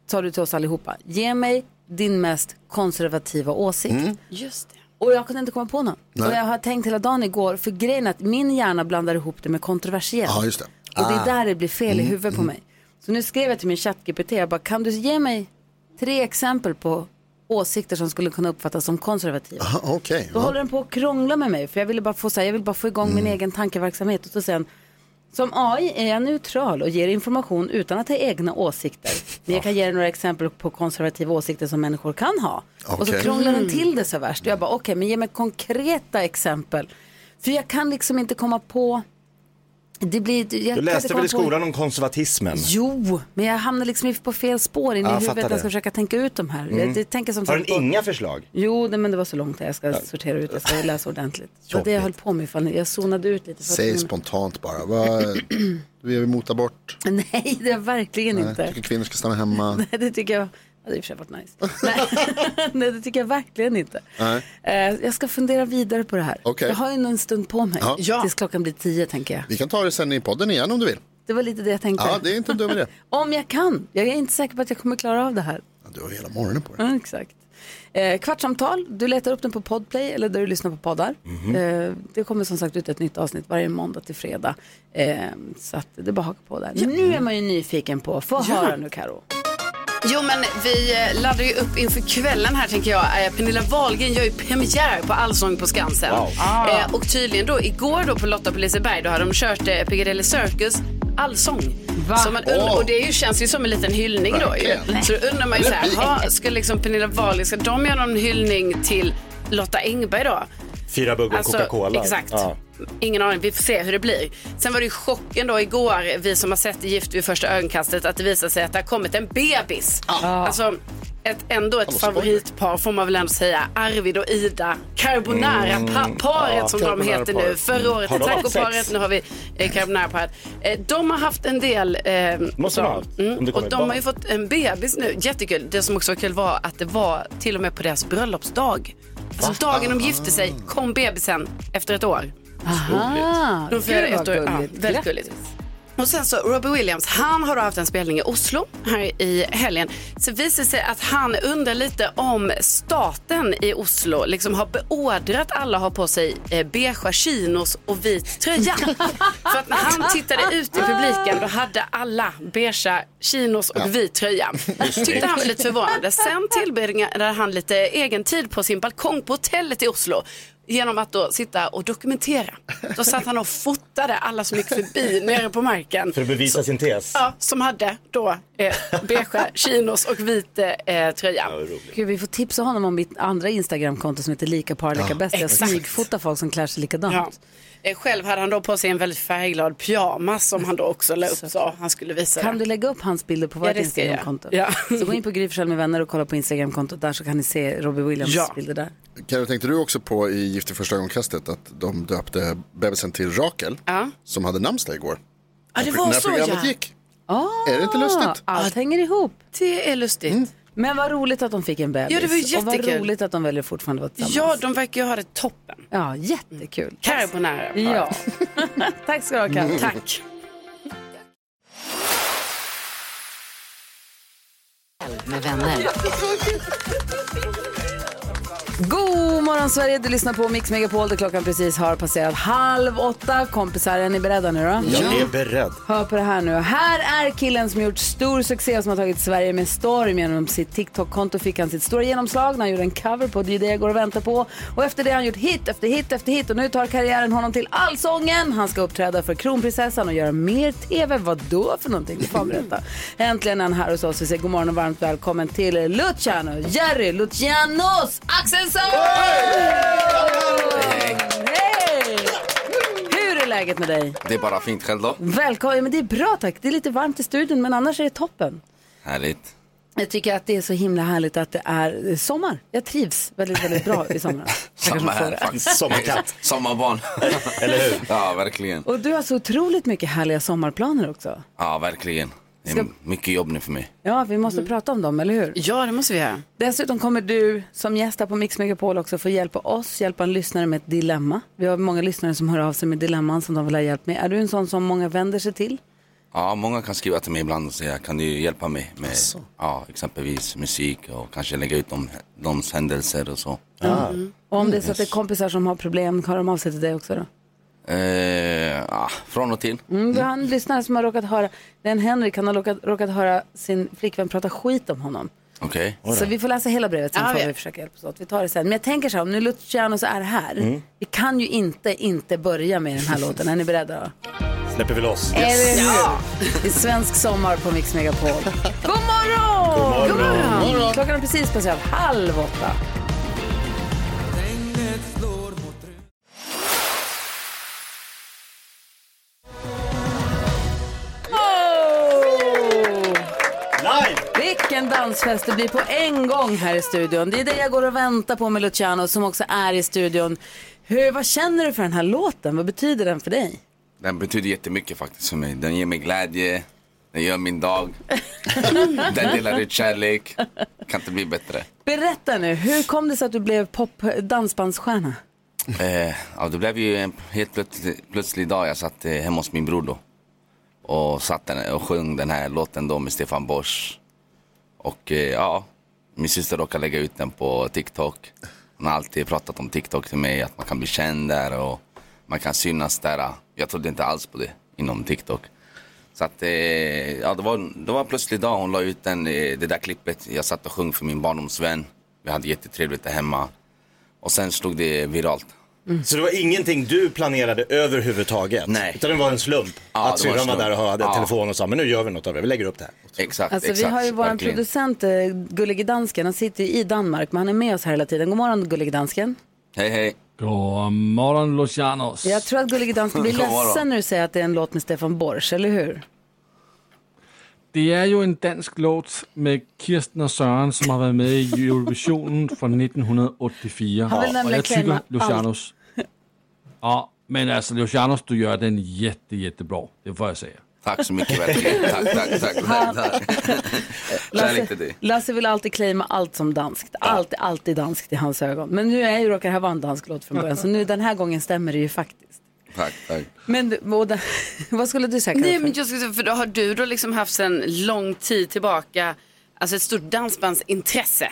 sa du till oss allihopa, ge mig din mest konservativa åsikt.
Just det.
Och jag kunde inte komma på någon.
Nej.
Och jag har tänkt hela dagen igår, för grejen är att min hjärna blandar ihop det med kontroversiellt.
Ja, just det.
Och det är
Ah.
där det blir fel i
Mm,
huvudet på
mm.
mig. Så nu skrev jag till min ChatGPT, jag bara, kan du ge mig tre exempel på åsikter som skulle kunna uppfattas som konservativa?
Aha, Okej.
Då håller den på att krångla med mig, för jag ville bara få, så här, jag vill bara få igång
Mm.
min egen tankeverksamhet. Och så sen, som AI är jag neutral och ger information utan att ha egna åsikter. Men jag kan ge dig några exempel på konservativa åsikter som människor kan ha. Och så
Okej.
krånglar den
Mm.
till det så värst. Och jag bara, okej, men ge mig konkreta exempel. För jag kan liksom inte komma på... Det blir, jag
Du
kan inte
läste
komma
väl i
på-
skolan om konservatismen?
Jo, men jag hamnar liksom på fel spår in i
Ja, jag
huvudet
fattar
när jag ska
det. Mm.
försöka tänka ut de här. Jag, jag tänker som
Har
sagt
den
på-
inga förslag?
Jo, det, men det var så långt där. Jag ska sortera ut, jag ska läsa ordentligt. Det var det jag höll på med ifall ni- jag zonade ut lite. för att-
Säg spontant bara. Vad, vi vill mota bort.
<clears throat> Nej, det är verkligen
Nej,
inte.
Tycker kvinnor ska stanna hemma.
Nej, det tycker jag hade i och för sig varit nice. Nej. <laughs> Nej, det tycker jag verkligen inte.
Nej.
Eh, Jag ska fundera vidare på det här.
Okej.
Jag har ju en stund på mig,
Ja. Ja.
tills klockan blir tio tänker jag.
Vi kan ta det sen i podden igen om du vill.
Det var lite det jag tänkte.
Ja, det är inte en dum idé.
<laughs> Om jag kan. Jag är inte säker på att jag kommer klara av det här.
Du har hela morgonen på
Ja, exakt. Eh, kvartsamtal, du letar upp den på Podplay eller där du lyssnar på poddar.
Mhm.
Eh, det kommer som sagt ut ett nytt avsnitt varje måndag till fredag. Eh, så att det är bara att haka på där. Nu är man ju nyfiken på, få
Ja.
höra nu Karo.
Jo men vi eh, laddar ju upp inför kvällen här tänker jag. Eh, Pernilla Wahlgren gör ju premiär på Allsång på Skansen.
Wow. Ah.
Eh, och tydligen då igår då på Lotta på Liseberg då har de kört eh, Piccadilly Circus allsång. Så man und-
Åh.
Och det är ju, känns ju som en liten hyllning då ju.
Verkligen.
Så då undrar man ju
Det
så här,
blir-
ha, ska liksom Pernilla Wahlgren, ska de göra någon hyllning till Lotta Engberg då?
Fyra bugg och
Alltså,
Coca-Cola.
exakt.
Ja.
Ingen aning, vi får se hur det blir. Sen var det ju chocken då igår, vi som har sett Gift vid första ögonkastet, att det visar sig att det har kommit en bebis. Alltså, ett, ändå ett favoritpar får man väl ändå säga, Arvid och Ida.
Mm.
Carbonara-paret
Ja,
som de
carbonara-paret.
heter nu. Förra året är
Har de haft
tacoparet,
sex?
nu har vi eh, carbonara-paret. Eh, de har haft en del... Eh,
Måste de ha haft, om det
mm,
kommer
och
ett
de
barn.
har ju fått en bebis nu. Jättekul. Det som också var kul var att det var till och med på deras bröllopsdag. Alltså dagen
Ah.
de gifte sig kom bebisen efter ett år.
Aha,
De firade
gud vad
ett år. Ja,
gulligt.
väldigt gulligt. Och sen så Robbie Williams, han har då haft en spelning i Oslo här i helgen. Så visar det sig att han undrar lite om staten i Oslo liksom har beordrat alla att ha på sig eh, beigea chinos och vit
<laughs>
tröja. För att när han tittade ut i publiken då hade alla beigea chinos och vit tröja.
Just
Tyckte
det.
han var lite förvånande. Sen tillbringade han lite egen tid på sin balkong på hotellet i Oslo genom att då sitta och dokumentera. Då satt han och fotade alla som gick förbi nere på marken.
För att bevisa sin tes.
Ja, som hade då eh, beige chinos och vit eh, tröja.
Gud, vi får tipsa honom om mitt andra Instagramkonto som heter lika par lika
Ja,
bäst. Jag
exakt.
smygfotar folk som klär sig likadant.
Ja. Eh, Själv hade han då på sig en väldigt färgglad pyjamas som han då också la upp så han skulle visa
Kan
det.
du lägga upp hans bilder på
Alltså. Ja,
vårt
det ska jag.
Instagramkonto?
Ja.
Så gå in på Gry Forssell med vänner och kolla på Instagramkontot där så kan ni se Robbie Williams
Ja.
bilder där.
Carro, tänkte du också på i Gift i första ögonkastet att de döpte bebisen till Rakel
Ja.
som hade namnsdag igår?
Ja, det
När-
var
när
så
programmet
ja.
gick.
Ah.
Är det inte lustigt?
Allt hänger ihop.
Det är lustigt.
Mm.
Men vad roligt att de fick en bebis.
Ja, det var ju
Och vad
jättekul.
roligt att de väljer fortfarande att vara
Ja,
tillsammans.
de verkar ju ha det toppen.
Ja, jättekul.
Carbonara. <laughs>
Ja. Tack ska du ha, Karin.
Tack.
God morgon, morgon Sverige, du lyssnar på Mix Megapol där klockan precis har passerat halv åtta. Kompisar, är ni beredda nu då?
Jag är beredd.
Hör på det här nu. Här är killen som gjort stor succé och som har tagit Sverige med storm. Genom sitt TikTok-konto fick han sitt stora genomslag när han gjorde en cover på Det är det jag går och väntar på. Och efter det har han gjort hit efter hit efter hit och nu tar karriären honom till Allsången. Han ska uppträda för Kronprinsessan och göra mer TV. Vad då för någonting? Du får berätta. Äntligen är han här hos oss. Vi säger god morgon och varmt välkommen till Luciano, Jerry Lucianos Axelsson! Hej! Hur är läget med dig?
Det är bara fint själv då.
Välkommen, men det är bra tack. Det är lite varmt i studion men annars är det toppen.
Härligt.
Jag tycker att det är så himla härligt att det är eh, sommar. Jag trivs väldigt, väldigt bra i sommaren.
Samma här faktiskt.
Sommarkatt.
<laughs> Sommarbarn. Eller hur? Ja,
<laughs>
verkligen.
Och du har så otroligt mycket härliga sommarplaner också.
Ja, verkligen. Det är
Ska-
mycket jobb nu för mig.
Ja, vi måste prata om dem, eller hur?
Ja, det måste vi göra.
Dessutom kommer du som gäst här på Mix Megapol också få hjälpa oss, hjälpa en lyssnare med ett dilemma. Vi har många lyssnare som hör av sig med dilemman som de vill ha hjälp med. Är du en sån som många vänder sig till?
Ja, många kan skriva till mig ibland och säga kan du hjälpa mig med
Alltså.
ja, exempelvis musik och kanske lägga ut de, de händelser och så.
Och om det är så att det är kompisar som har problem, hör de av sig till dig också då?
Eh, ja, från och till.
Mm, vi har en lyssnare som har råkat höra, det är en Henrik, han har råkat, råkat höra sin flickvän prata skit om honom.
Okej.
Så vi får läsa hela brevet sen
Ja,
får
vi-
vi försöka hjälpas åt. Vi tar det sen. Men jag tänker så här, om nu Luciano så är här,
Mm.
vi kan ju inte inte börja med <laughs> den här låten. Är ni beredda då?
Släpper vi loss?
Är det nu? Det är svensk sommar på Mix Megapol. <laughs> God morgon!
God morgon!
God morgon! Klockan är precis passerat halv åtta. Vilken dansfest det blir på en gång här i studion. Det är det jag går och väntar på med Luciano som också är i studion. Hur, vad känner du för den här låten? Vad betyder den för dig?
Den betyder jättemycket faktiskt för mig. Den ger mig glädje, den gör min dag, den delar ut kärlek. Kan inte bli bättre.
Berätta nu, hur kom det sig att du blev pop dansbandsstjärna?
Eh, ja, det blev ju en helt plötslig, plötslig dag. Jag satt eh, hemma hos min bror då. Och satt den, och sjöng den här låten då med Stefan Borsch. Och eh, ja, min syster råkade lägga ut den på TikTok. Hon har alltid pratat om TikTok till mig, att man kan bli känd där och man kan synas där. Jag trodde inte alls på det inom TikTok. Så att, eh, ja, det var, det var en plötslig dag hon la ut den, eh, det där klippet. Jag satt och sjöng för min barndomsvän. Vi hade jättetrevligt där hemma. Och sen slog det viralt.
Mm. Så det var ingenting du planerade överhuvudtaget? Nej. Utan det var en slump?
det var
att syrran
en
var
slump.
där och hade
Ja.
telefon och sa, men nu gör vi något av det, vi lägger upp det här.
Exakt,
Alltså vi har ju våran producent eh, Gullige Dansken, han sitter ju i Danmark men han är med oss här hela tiden. God morgon Gullige Dansken.
Hej, hej.
God morgon, Lucianos.
Jag tror att Gullige Dansken blir
God morgon.
ledsen när du säger att det är en låt med Stefan Borsch, eller hur?
Det är ju en dansk låt med Kirsten och Søren, som har været med i Eurovisionen fra 1984.
Han vil
og
nemlig
jeg tykker,
claime
Lucianos... <laughs> Ja, men altså, Lucianos, du gør den jätte, jättebra. Det får jeg sige.
Tak så mycket, verkligen. Tack, <laughs> tack, tack. tack, tack. Kärlek till dig.
Lasse vill alltid claima allt som danskt. Allt är alltid danskt i hans ögon. Men nu är ju råkar det här vara en dansk låt från början så nu den här gången stämmer det ju faktiskt.
Tack, tack.
Men du- båda, <laughs> vad skulle du säga
Nej,
Carro, för?
men jag skulle säga, för då har du då liksom haft sedan lång tid tillbaka, alltså ett stort dansbandsintresse.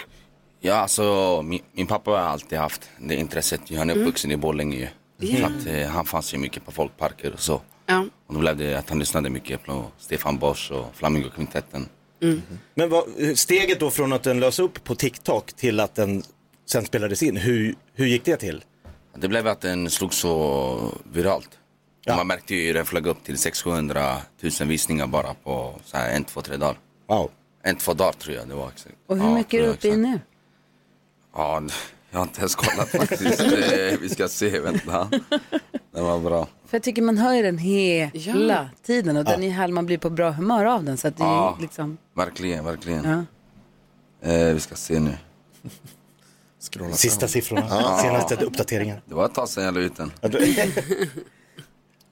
Ja, alltså, min, min pappa har alltid haft det intresset. Han är
Mm.
uppvuxen i Borlänge ju.
Ja.
Så att, eh, han fanns ju mycket på folkparker och så.
Ja.
Och då blev det att han lyssnade mycket på Stefan Borsch och Flamingokvintetten. Mm.
Men vad, Mm. eh, steget då från att den lös upp på TikTok till att den sen spelades in, hur, hur gick det till?
Det blev att den slog så viralt. Man märkte ju hur den flög upp till 600 000 visningar bara på så här, en, två, tre dagar.
Wow.
En, två dagar tror jag det var. Exakt.
Och hur
Ja,
mycket är
tror
du
jag
uppe i nu?
Ja, jag har inte ens kollat faktiskt. Eh, Vi ska se, vänta. Det var bra.
För jag tycker man hör ju den hela
Ja.
tiden och den är härlig, man blir på bra humör av den. Så att det är
Ja.
ju liksom...
Verkligen, verkligen. Eh, vi ska se nu.
Sista siffrorna, senaste uppdateringen.
Det var ett tag sedan jag la ut den.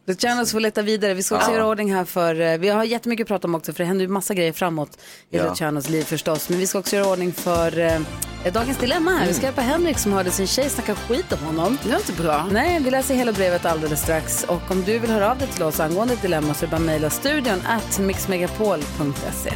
Luciano får leta vidare. Vi ska också
Ja.
göra ordning här för, eh, vi har jättemycket att prata om också för det händer ju massa grejer framåt i
Ja.
Lucianos liv förstås. Men vi ska också göra ordning för eh, dagens dilemma här. Vi ska hjälpa Henrik som hörde sin tjej snacka skit om honom.
Det var inte bra.
Nej, vi läser hela brevet alldeles strax. Och om du vill höra av dig till oss angående ett dilemma så är det bara att mejla studion at mixmegapol.se.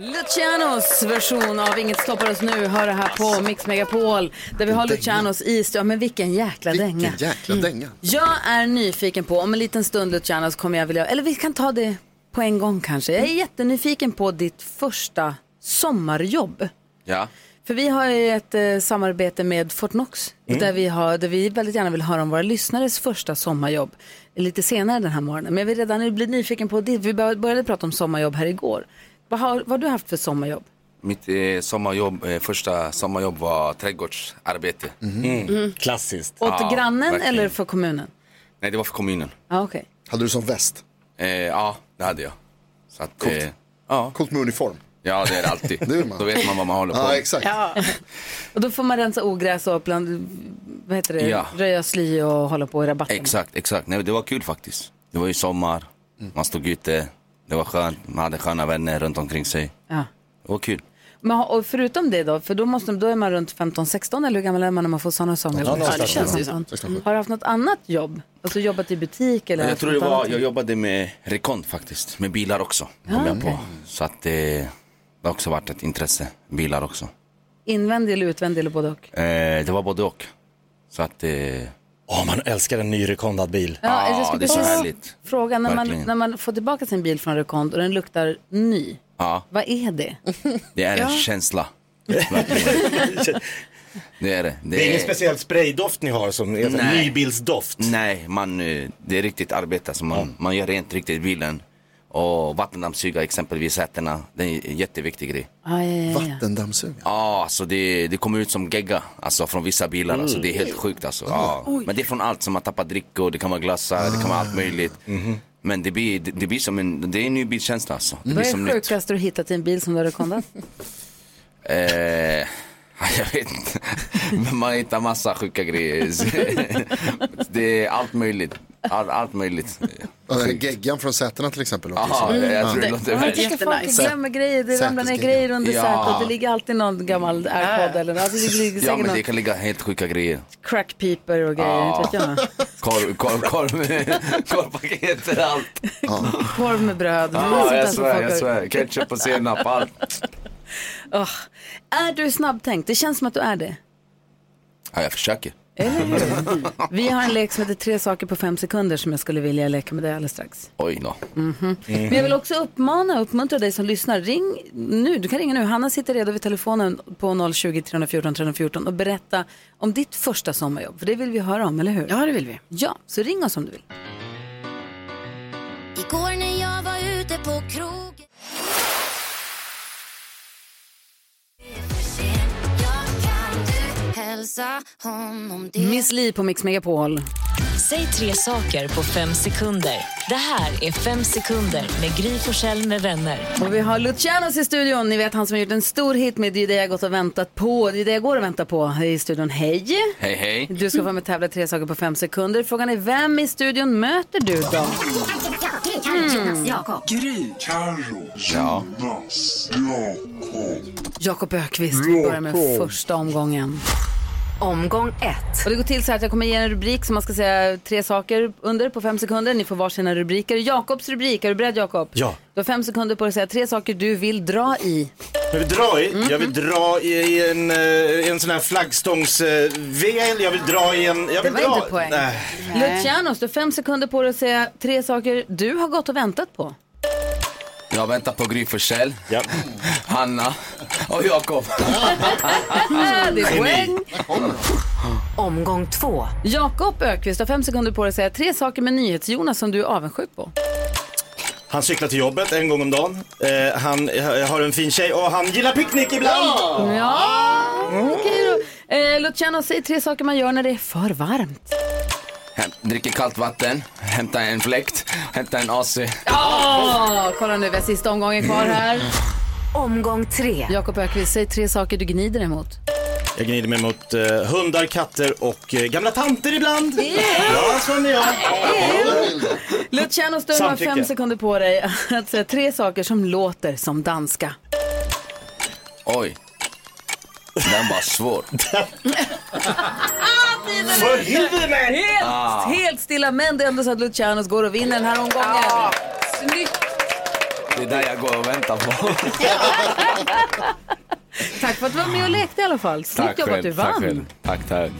Lucianos version av Inget stoppar oss nu hör det här på Mix Megapol där vi har Lucianos i studion. Men vilken jäkla dänga.
Vilken jäkla dänga.
Jag är nyfiken på, om en liten stund Luciano så kommer jag vilja, eller vi kan ta det på en gång kanske. Jag är
Mm.
jättenyfiken på ditt första sommarjobb.
<laughs> Ja.
För vi har ju ett eh, samarbete med Fortnox
Mm.
där, vi har, där vi väldigt gärna vill höra om våra lyssnares första sommarjobb lite senare den här morgonen. Men jag vill redan nu bli nyfiken på det. Vi bör- började prata om sommarjobb här igår. Vad har, vad har du haft för sommarjobb?
Mitt eh, sommarjobb, eh, första sommarjobb var trädgårdsarbete.
Mhm.
Mm.
Klassiskt.
Åt grannen eller för kommunen?
Nej, det var för kommunen.
Ja, okej.
Hade du som väst?
Eh, ja, det hade jag. Så att,
Coolt.
Eh, ja.
Coolt med uniform.
Ja, det är
<laughs>
det alltid. Då vet man vad man håller på
Ja,
med.
exakt.
Ja. Och då får man rensa ogräs och bland, vad heter det,
Ja.
röja sly och hålla på i rabatten.
Exakt, exakt. Nej, det var kul faktiskt. Det var ju sommar,
Mm.
man stod ute, det var skönt, man hade sköna vänner runt omkring sig.
Ja.
Det var kul.
Men, ha- och förutom det då, för då, måste, då är man runt 15-16 eller hur gammal är man när man får sådana sommarjobb?
Ja, någonstans där.
som.
16, 17.
Har du haft något annat jobb? Alltså jobbat i butik eller?
Jag
haft
tror det
något
var,
annat
jag
jobb?
jobbade med rekond faktiskt, med bilar också.
Ah,
kom jag på.
okej.
Så att eh, det har också varit ett intresse, bilar också.
Invändig eller utvändig eller både och?
Eh, det var både och. Så att... Åh, eh... man älskar en ny rekondad bil. Ja,
jag skulle
det är så
precis
härligt.
Fråga, när man,
Verkligen.
när man får tillbaka sin bil från Rekond och den luktar ny,
Ja,
vad är det?
<laughs> det är en
Ja. <laughs>
känsla. Verkligen. det är det.
Det är ingen speciell spraydoft ni har som är en
Nej.
nybilsdoft.
Nej, man, eh, det är riktigt arbete. Alltså man, man gör rent riktigt bilen. Och vattendammsuga exempelvis sätena. Det är en jätteviktig grej.
Ah, ja, ja, ja.
Vattendammsugare.
Ja, alltså det, det kommer ut som gegga. Alltså från vissa bilar.
Mm.
Alltså det är helt sjukt alltså. Ja.
Oj.
Men det är från allt som man tappar drickor, det kan vara glassar, det kan vara
Ah.
allt möjligt.
Mhm.
Men det blir, det, det blir som en, det är en ny bilkänsla alltså. Det blir
Vad är
som
det
nytt.
sjukaste du hittat i en bil som du har rekondat?
Eh, <laughs> jag vet inte. Men man hittar massa sjuka grejer. <laughs> Det är allt möjligt. All, allt möjligt.
Ja, den här geggan från Sätena till exempel. låter
Jaha,
som.
jag tror det
Ja.
låter
Ja, men tänk att folk glömmer grejer, det ramlar ner
Sätesgrejer.
grejer under
Ja.
sätet, det ligger alltid någon gammal airpod eller något. Alltså, det ligger
Ja
säkert
men
någon
det kan ligga helt sjuka grejer.
crackpiper och grejer,
Ja.
inte vet jag.
Korv, korv, <laughs> korv, korvpaket och allt.
Korv med bröd.
Ja,
sånt där
jag
som
svär,
folk
jag
har-
svär. Ketchup och senap, allt.
Åh. Är du snabbtänkt? Det känns som att du är det.
Ja, jag försöker.
Vi har en lek som heter Tre saker på fem sekunder som jag skulle vilja leka med dig alldeles strax. Mm.
Oj då.
Men jag vill också uppmana och uppmuntra dig som lyssnar. Ring nu, du kan ringa nu. Hanna sitter redo vid telefonen på 020-314 314 och berätta om ditt första sommarjobb. För det vill vi höra om, eller hur? Ja,
det vill vi.
Ja, så ring oss om du vill.
Igår när jag var ute på krog Hälsa honom det
Miss Li på Mix Megapol.
Säg tre saker på fem sekunder. Det här är Fem sekunder med Gry Forssell med vänner.
Och vi har Lucianos i studion. Ni vet han som har gjort en stor hit med Det är det jag gått och väntat på. Det är det jag går och väntar på här i studion. Hej!
Hej, hej.
Du ska vara med och tävla i tre saker på fem sekunder. Frågan är vem i studion möter du då?
Gry,
Ja.
Jakob Ökvist. Vi börjar med
Jakob.
första omgången.
Omgång ett.
Och det går till så här att jag kommer ge en rubrik som man ska säga tre saker under på fem sekunder. Ni får varsina rubriker. Jakobs rubrik, är du beredd Jakob?
Ja.
Du har fem sekunder på dig att säga tre saker du vill dra i.
Jag vill dra i, jag vill dra i, i en, eh, en sån här flaggstångsvel, jag vill dra i en... Jag
Det
vill
var
dra...
inte poäng.
Nej.
Lucianos, du har fem sekunder på dig att säga tre saker du har gått och väntat på.
Jag väntar på Gry Forssell, Hanna och Jakob.
det är poäng.
Omgång två.
Jakob Ökvist du har fem sekunder på dig att säga tre saker med NyhetsJonas som du är avundsjuk på.
Han cyklar till jobbet en gång om dagen, eh, han eh, har en fin tjej och han gillar picknick ibland.
Ja, okej då. Eh, Luciano, säg tre saker man gör när det är för varmt.
Häm- Dricker kallt vatten, hämtar en fläkt, hämtar en AC.
Ja, kolla nu, vi har sista omgången kvar här.
Omgång tre.
Jakob Ökvist, säg tre saker du gnider emot.
Jag gnider mig mot eh, hundar, katter och eh, gamla tanter ibland. Ja, sån är jag.
Luciano, du har
Samtycke.
fem sekunder på dig att säga tre saker som låter som danska.
Oj. Den var svår.
För helvete! Helt,
Ah.
Ah. helt stilla, men det är ändå så att Lucianos går och vinner den här omgången. Snyggt!
Det är där jag går och väntar på.
Tack för att du var med och lekte i alla fall. Snyggt jobbat, du
tack
vann.
själv. Tack, tack.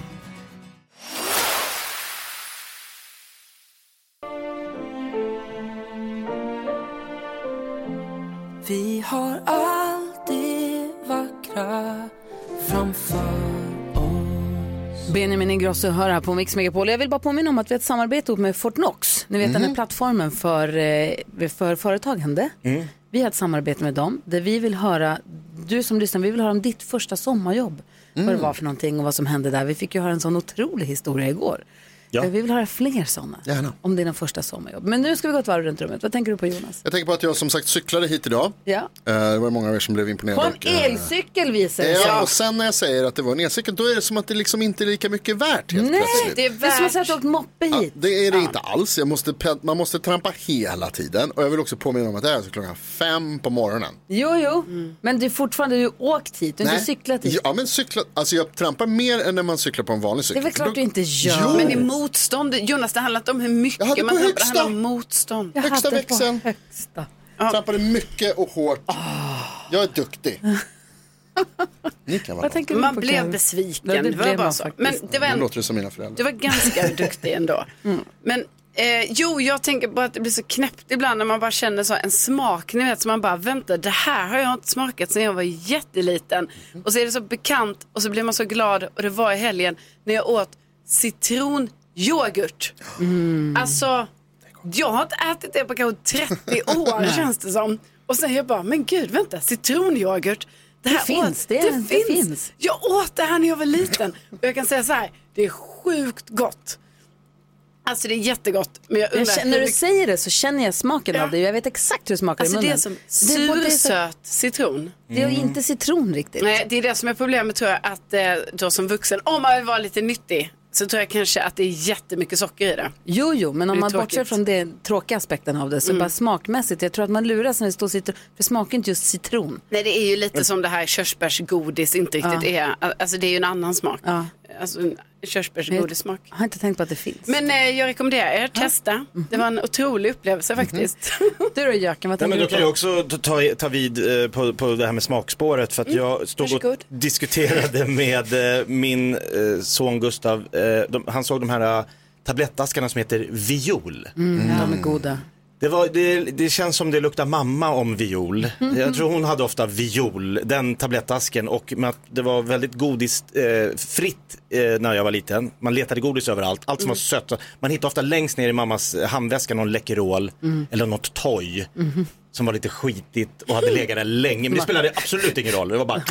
Vi har allt det vackra
<laughs>
framför
Benjamin Ingrosso hör här på Mix Megapol. Jag vill bara påminna om att vi har ett samarbete ihop med Fortnox. Ni vet den här
Mhm.
plattformen för, eh, för företagande. Vi har ett samarbete med dem där vi vill höra, du som lyssnar, vi vill höra om ditt första sommarjobb. Vad det
Mm.
var för någonting och vad som hände där. Vi fick ju höra en sån otrolig historia igår.
Ja.
Men Vi vill höra fler sådana. Om dina första sommarjobb. Men nu ska vi gå ett varv runt rummet. Vad tänker du på Jonas?
Jag tänker på att jag som sagt cyklade hit idag.
Ja.
Eh, Det var många av er som blev
På
imponerade.
en
Och, eh,
elcykel visar det sig.
Ja, och sen när jag säger att det var en elcykel, då är det som att det liksom inte är lika mycket värt helt
Nej,
plötsligt.
det är, som att säga att du har åkt moppe hit.
Ja, det är det inte alls. Jag måste, ped- man måste trampa hela tiden. Och jag vill också påminna om att det här är alltså klockan fem på morgonen.
Jo, jo, men du är fortfarande du har åkt hit, du har inte
Nej.
cyklat hit.
Ja, men cykla, alltså jag trampar mer än när man cyklar på en vanlig
Det
cykel.
är väl klart
För då-
du inte gör.
Jo.
Men det är motstånd. Jonas, det handlar inte om hur mycket
hade
man
på
trampar. Det
högsta.
handlar om motstånd.
Jag Högsta hade på växeln.
högsta.
Trampade mycket och hårt. Jag är duktig. Ni kan vara
Ah. Vad tänker du på, Karo? Ja, det
Det,
blev man faktiskt. Men det var en-
Nu låter det som mina föräldrar.
Du var ganska duktig ändå. Men eh, jo, jag tänker bara att det blir så knäppt ibland när man bara känner så en smak. Ni vet, så man bara vänta, det här har jag inte smakat sedan jag var jätteliten. Och så är det så bekant och så blir man så glad och det var i helgen när jag åt citronyoghurt. Alltså, jag har inte ätit det på kanske
<laughs>
30 år känns det som. Och sen jag bara, men gud vänta, citronyoghurt.
Det finns, det är- det finns.
Jag åt det här när jag var liten. Och jag kan säga så här, det är sjukt gott. Alltså det är jättegott. Men jag
Jag
undrar
känner, när
hur
du säger det så känner jag smaken av det. Jag vet exakt hur det smakar
Alltså
i
det är
munnen.
som
är både så-
sursöt citron. Mm.
Det är ju
Mm.
inte citron riktigt.
Nej, det är det som är problemet tror jag att eh, då som vuxen, om man vill vara lite nyttig, så tror jag kanske att det är jättemycket socker i det.
Jo, jo, men
Det
om
är
man
tråkigt.
bortser från den tråkiga aspekten av det så
Mm.
bara smakmässigt. Jag tror att man luras när det står citron, för det smakar inte just citron.
Nej, det är ju lite som det här körsbärsgodis inte riktigt är. Alltså det är ju en annan smak. Alltså en körsbärsgodissmak.
Jag har inte tänkt på att det finns.
Men eh, jag rekommenderar er att testa. Det var en otrolig upplevelse faktiskt.
Mhm. <laughs> Du då Jöken, vad tänker
Nej, men då
du
kan
på?
jag också ta- ta, ta vid eh, på, på det här med smakspåret för att
Mm,
jag stod
varsågod.
och diskuterade <laughs> med eh, min eh, son Gustav. Eh, de, han såg de här eh, tablettaskarna som heter Viol.
Mm, De är goda.
Det, var, det, det känns som det luktar mamma om viol. Jag tror hon hade ofta viol, den tablettasken och med att det var väldigt godisfritt eh, fritt, eh, när jag var liten. Man letade godis överallt, allt som var sött. Man hittade ofta längst ner i mammas handväska någon Läkerol
Mm.
eller något toy
Mm.
som var lite skitigt och hade legat där länge. Men det spelade absolut ingen roll, det var bara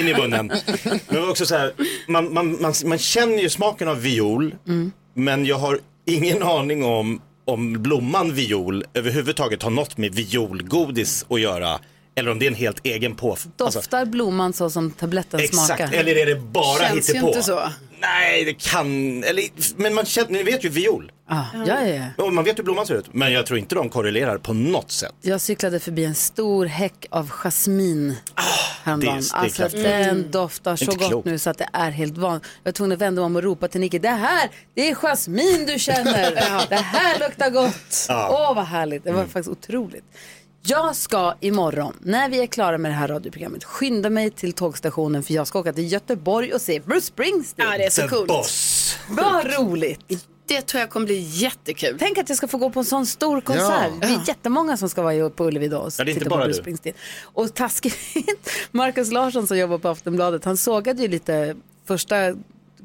in i munnen. Men det var också så här, man, man, man, man känner ju smaken av viol
Mm.
men jag har ingen aning om om blomman viol överhuvudtaget har något med violgodis att göra. Eller om det är en helt egen på... alltså,
Doftar blomman så som tabletten
Exakt,
smakar?
eller är det bara
Känns ju
hittepå?
inte så.
Nej, det kan... Eller, men man känner, ni vet ju viol.
Ah, ja, ja, ja.
Och man vet hur blomman ser ut. Men jag tror inte de korrelerar på något sätt.
Jag cyklade förbi en stor häck av jasmin häromdagen.
Ah, det är
Alltså
kraftigt.
den
Mm.
doftar så
Inte
gott
klokt.
nu så att det är helt van. Jag var tvungen att vända mig om och ropa till Nicky, det här, det är jasmin du
<laughs>
känner.
Ja.
det här luktar gott. Åh
Ja.
vad härligt, det var
Mm.
faktiskt otroligt. Jag ska imorgon, när vi är klara med det här radioprogrammet, skynda mig till tågstationen för jag ska åka till Göteborg och se Bruce Springsteen.
Ja, det är så The coolt. Boss.
Vad roligt.
Det tror jag kommer bli jättekul.
Tänk att jag ska få gå på en sån stor konsert.
Ja.
Det är jättemånga som ska vara på Ullevi då och
Ja, det är inte
titta
bara
på Bruce
du.
Springsteen. Och taskigt, <laughs> Markus Larsson som jobbar på Aftonbladet, han sågade ju lite första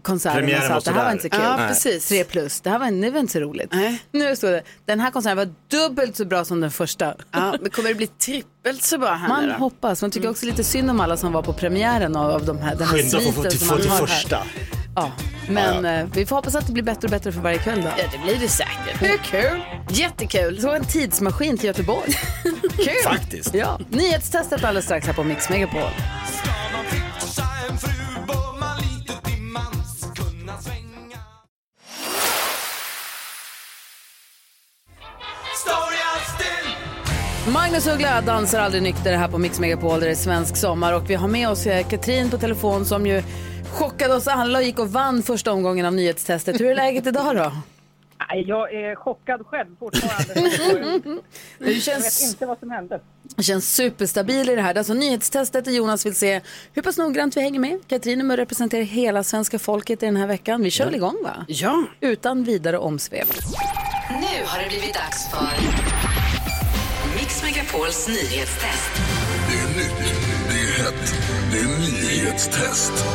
konserten och
Premiären
sa
var
att det här var
sådär."
inte så kul.
Ja, Nej. precis.
Tre plus, det här var, det var inte så roligt. Nu står det, den här konserten var dubbelt så bra som den första.
Ja,
<laughs>
men kommer det bli trippelt så bra här
Man
nu då?
hoppas, man tycker också lite synd om alla som var på premiären av, av de här, den här
Skynda för att få
sviten
typ
som
till, få
man
till
har här.
första.
Ja, men eh, vi får hoppas att det blir bättre och bättre för varje kväll då.
Ja, det blir det säkert.
Hur kul?
Jättekul.
Så en tidsmaskin till Göteborg. <laughs> kul!
Faktiskt.
Ja. Nyhetstestet alldeles strax här på Mix Megapol. Magnus Uggla dansar aldrig nykter här på Mix Megapol där det är svensk sommar och vi har med oss eh, Katrin på telefon som ju chockade oss alla och gick och vann första omgången av nyhetstestet. Hur är läget idag då?
Nej, jag är chockad själv fortfarande.
Det
Jag
känns-
vet inte vad som hände.
Det känns superstabil i det här. Det är alltså nyhetstestet där Jonas vill se hur pass noggrant vi hänger med. Katrin är med och representerar hela svenska folket i den här veckan. Vi kör väl igång va?
Ja.
Utan vidare omsvep.
Nu har det blivit dags för Mix Megapols nyhetstest.
Det är nytt, det är hett, det är nyhetstest.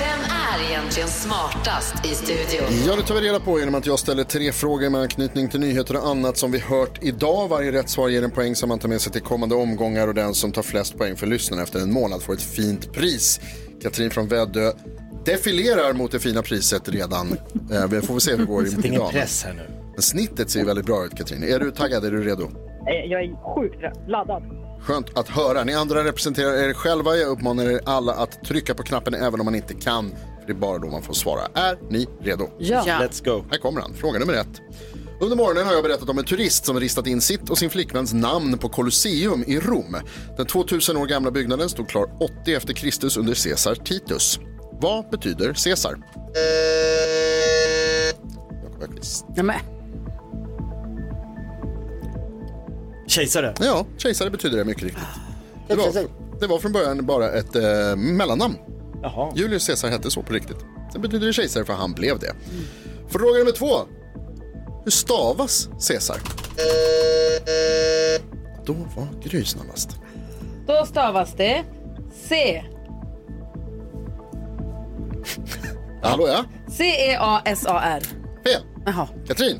Vem är egentligen smartast i studion?
Ja, det tar vi reda på genom att jag ställer tre frågor med anknytning till nyheter och annat som vi hört idag. Varje rätt svar ger en poäng som man tar med sig till kommande omgångar och den som tar flest poäng för lyssnarna efter en månad får ett fint pris. Katrin från Väddö defilerar mot det fina priset redan. Eh, Vi får väl se hur det går
Sätt
idag.
ingen press här nu.
Men snittet ser ju väldigt bra ut, Katrin. Är du taggad? Är du redo?
Eh, Jag är sjukt rädd. laddad.
Skönt att höra. Ni andra representerar er själva. Jag uppmanar er alla att trycka på knappen även om man inte kan. För det är bara då man får svara. Är ni redo?
Ja. Ja.
Let's go. Här kommer han. Fråga nummer ett. Under morgonen har jag berättat om en turist som ristat in sitt och sin flickväns namn på Colosseum i Rom. Den 2000 år gamla byggnaden stod klar 80 efter Kristus under Caesar Titus. Vad betyder Caesar? Jakob Öqvist.
Kejsare.
Ja, kejsare betyder det mycket riktigt. Det var, det var från början bara ett eh, mellannamn. Julius Caesar hette så på riktigt. Sen betyder det kejsare för han blev det. Fråga nummer två. Hur stavas Caesar? Då var Gry snabbast.
Då stavas det C.
Hallå ja?
E C-E-A-S-A-R.
Fel.
Jaha.
Katrin?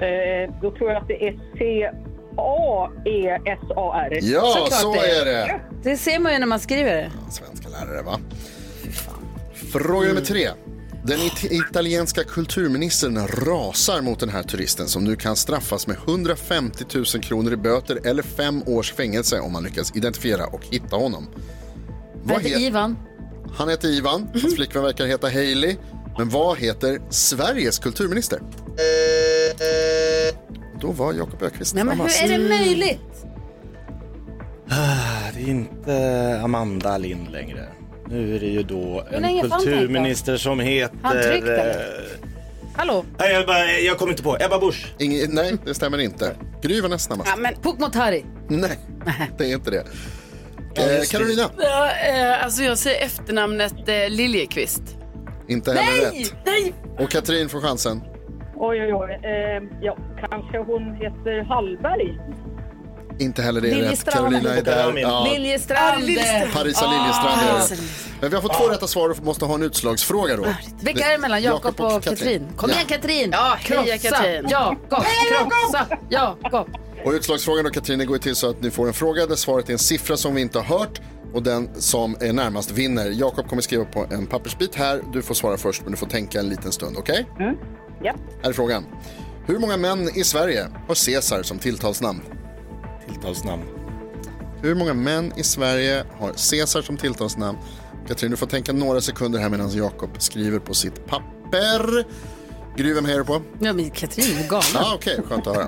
Eh, Då tror jag att det är E C-A-E-S-A-R.
Ja, så är det.
Det ser man ju när man skriver det.
Svenska lärare va? Fråga nummer tre. Den it- italienska kulturministern rasar mot den här turisten som nu kan straffas med 150 000 kronor i böter eller fem års fängelse om man lyckas identifiera och hitta honom.
Vad heter
he-
Ivan?
Han heter Ivan,
Mhm.
hans flickvän verkar heta Hailey. Men vad heter Sveriges kulturminister? Då var Jakob Öqvist
Nej, men hur
snabbast.
är det möjligt?
Ah, Det är inte Amanda Lind längre. Nu är det ju då
Hur
en
länge fanns
kulturminister som heter...
Har han tryckt eller?
eh,
Hallå?
nej, jag, bara, jag kommer inte på. Ebba Busch.
Inge, nej, det stämmer inte. Gry var näst snabbast.
Ja, men Pukmotari.
Nej, det är inte det.
Ja,
Eh,
just det.
Carolina,
Ja, eh, alltså jag säger efternamnet eh, Liljekvist.
inte heller rätt.
Nej!
Och Katrin får chansen.
Oj, oj, oj. Eh, Ja, kanske hon heter Hallberg.
Inte heller det är rätt.
Liljestrand.
Carolina är där.
Liljestrand. Ah,
Parisa Liljestrand är det. Men vi har fått två rätta svar och måste ha en utslagsfråga då.
Vilka är det mellan Jakob och Katrin? Kom igen Katrin! Ja,
heja, Katrin.
Jakob! Krossa! Jakob!
Och utslagsfrågan då Katrin, går ju till så att ni får en fråga där svaret är en siffra som vi inte har hört och den som är närmast vinner. Jakob kommer skriva på en pappersbit här. Du får svara först men du får tänka en liten stund, okej?
Ja.
Här är frågan. Hur många män i Sverige har Caesar som tilltalsnamn?
Tilltalsnamn.
Hur många män i Sverige har Caesar som tilltalsnamn? Katrin, du får tänka några sekunder här medan Jakob skriver på sitt papper. Gry, vem hejar du på?
Ja, men Katrin är galen.
Ja, Okej, skönt att höra.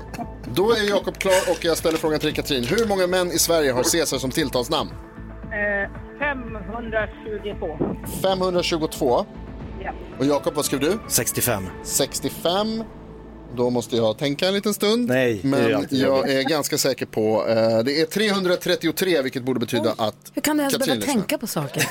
Då är Jakob klar och jag ställer frågan till Katrin. Hur många män i Sverige har Caesar som tilltalsnamn?
Eh, 522.
522.
Ja.
Och Jakob, vad skrev du?
65.
65. Då måste jag tänka en liten stund. Nej,
det är
Men
alltid
jag
jobbigt.
är ganska säker på... Eh, det är 333, vilket borde betyda att
Hur kan du ens
Katrin
behöva
lyssnar.
tänka på saker?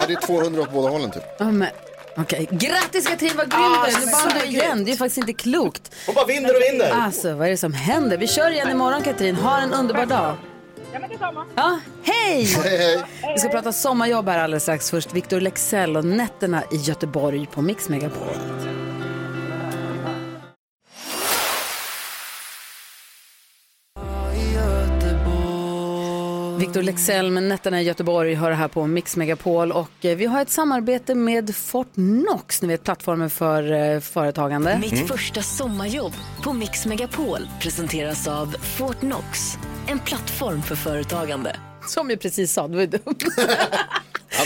Ja, det är 200 åt båda hållen, typ.
Ja, men, okej. Grattis Katrin, vad grym
Ah,
du är! Nu
så
vann du
grymt.
igen, det är faktiskt inte klokt.
Hon bara vinner och vinner.
Alltså, vad är det som händer? Vi kör igen imorgon Katrin, ha en underbar dag.
Ja, men detsamma.
Ja, hej!
<laughs> Hej, hej.
Vi ska prata sommarjobb här alldeles strax. Först Victor Lexell och nätterna i Göteborg på Mix Megapol. Victor Lexell med Nätterna i Göteborg hör här på Mix Megapol och eh, vi har ett samarbete med Fortnox, ni vet plattformen för eh, företagande.
Mitt
Mm.
första sommarjobb på Mix Megapol presenteras av Fortnox, en plattform för företagande.
Som jag precis sa, det var ju dumt.
men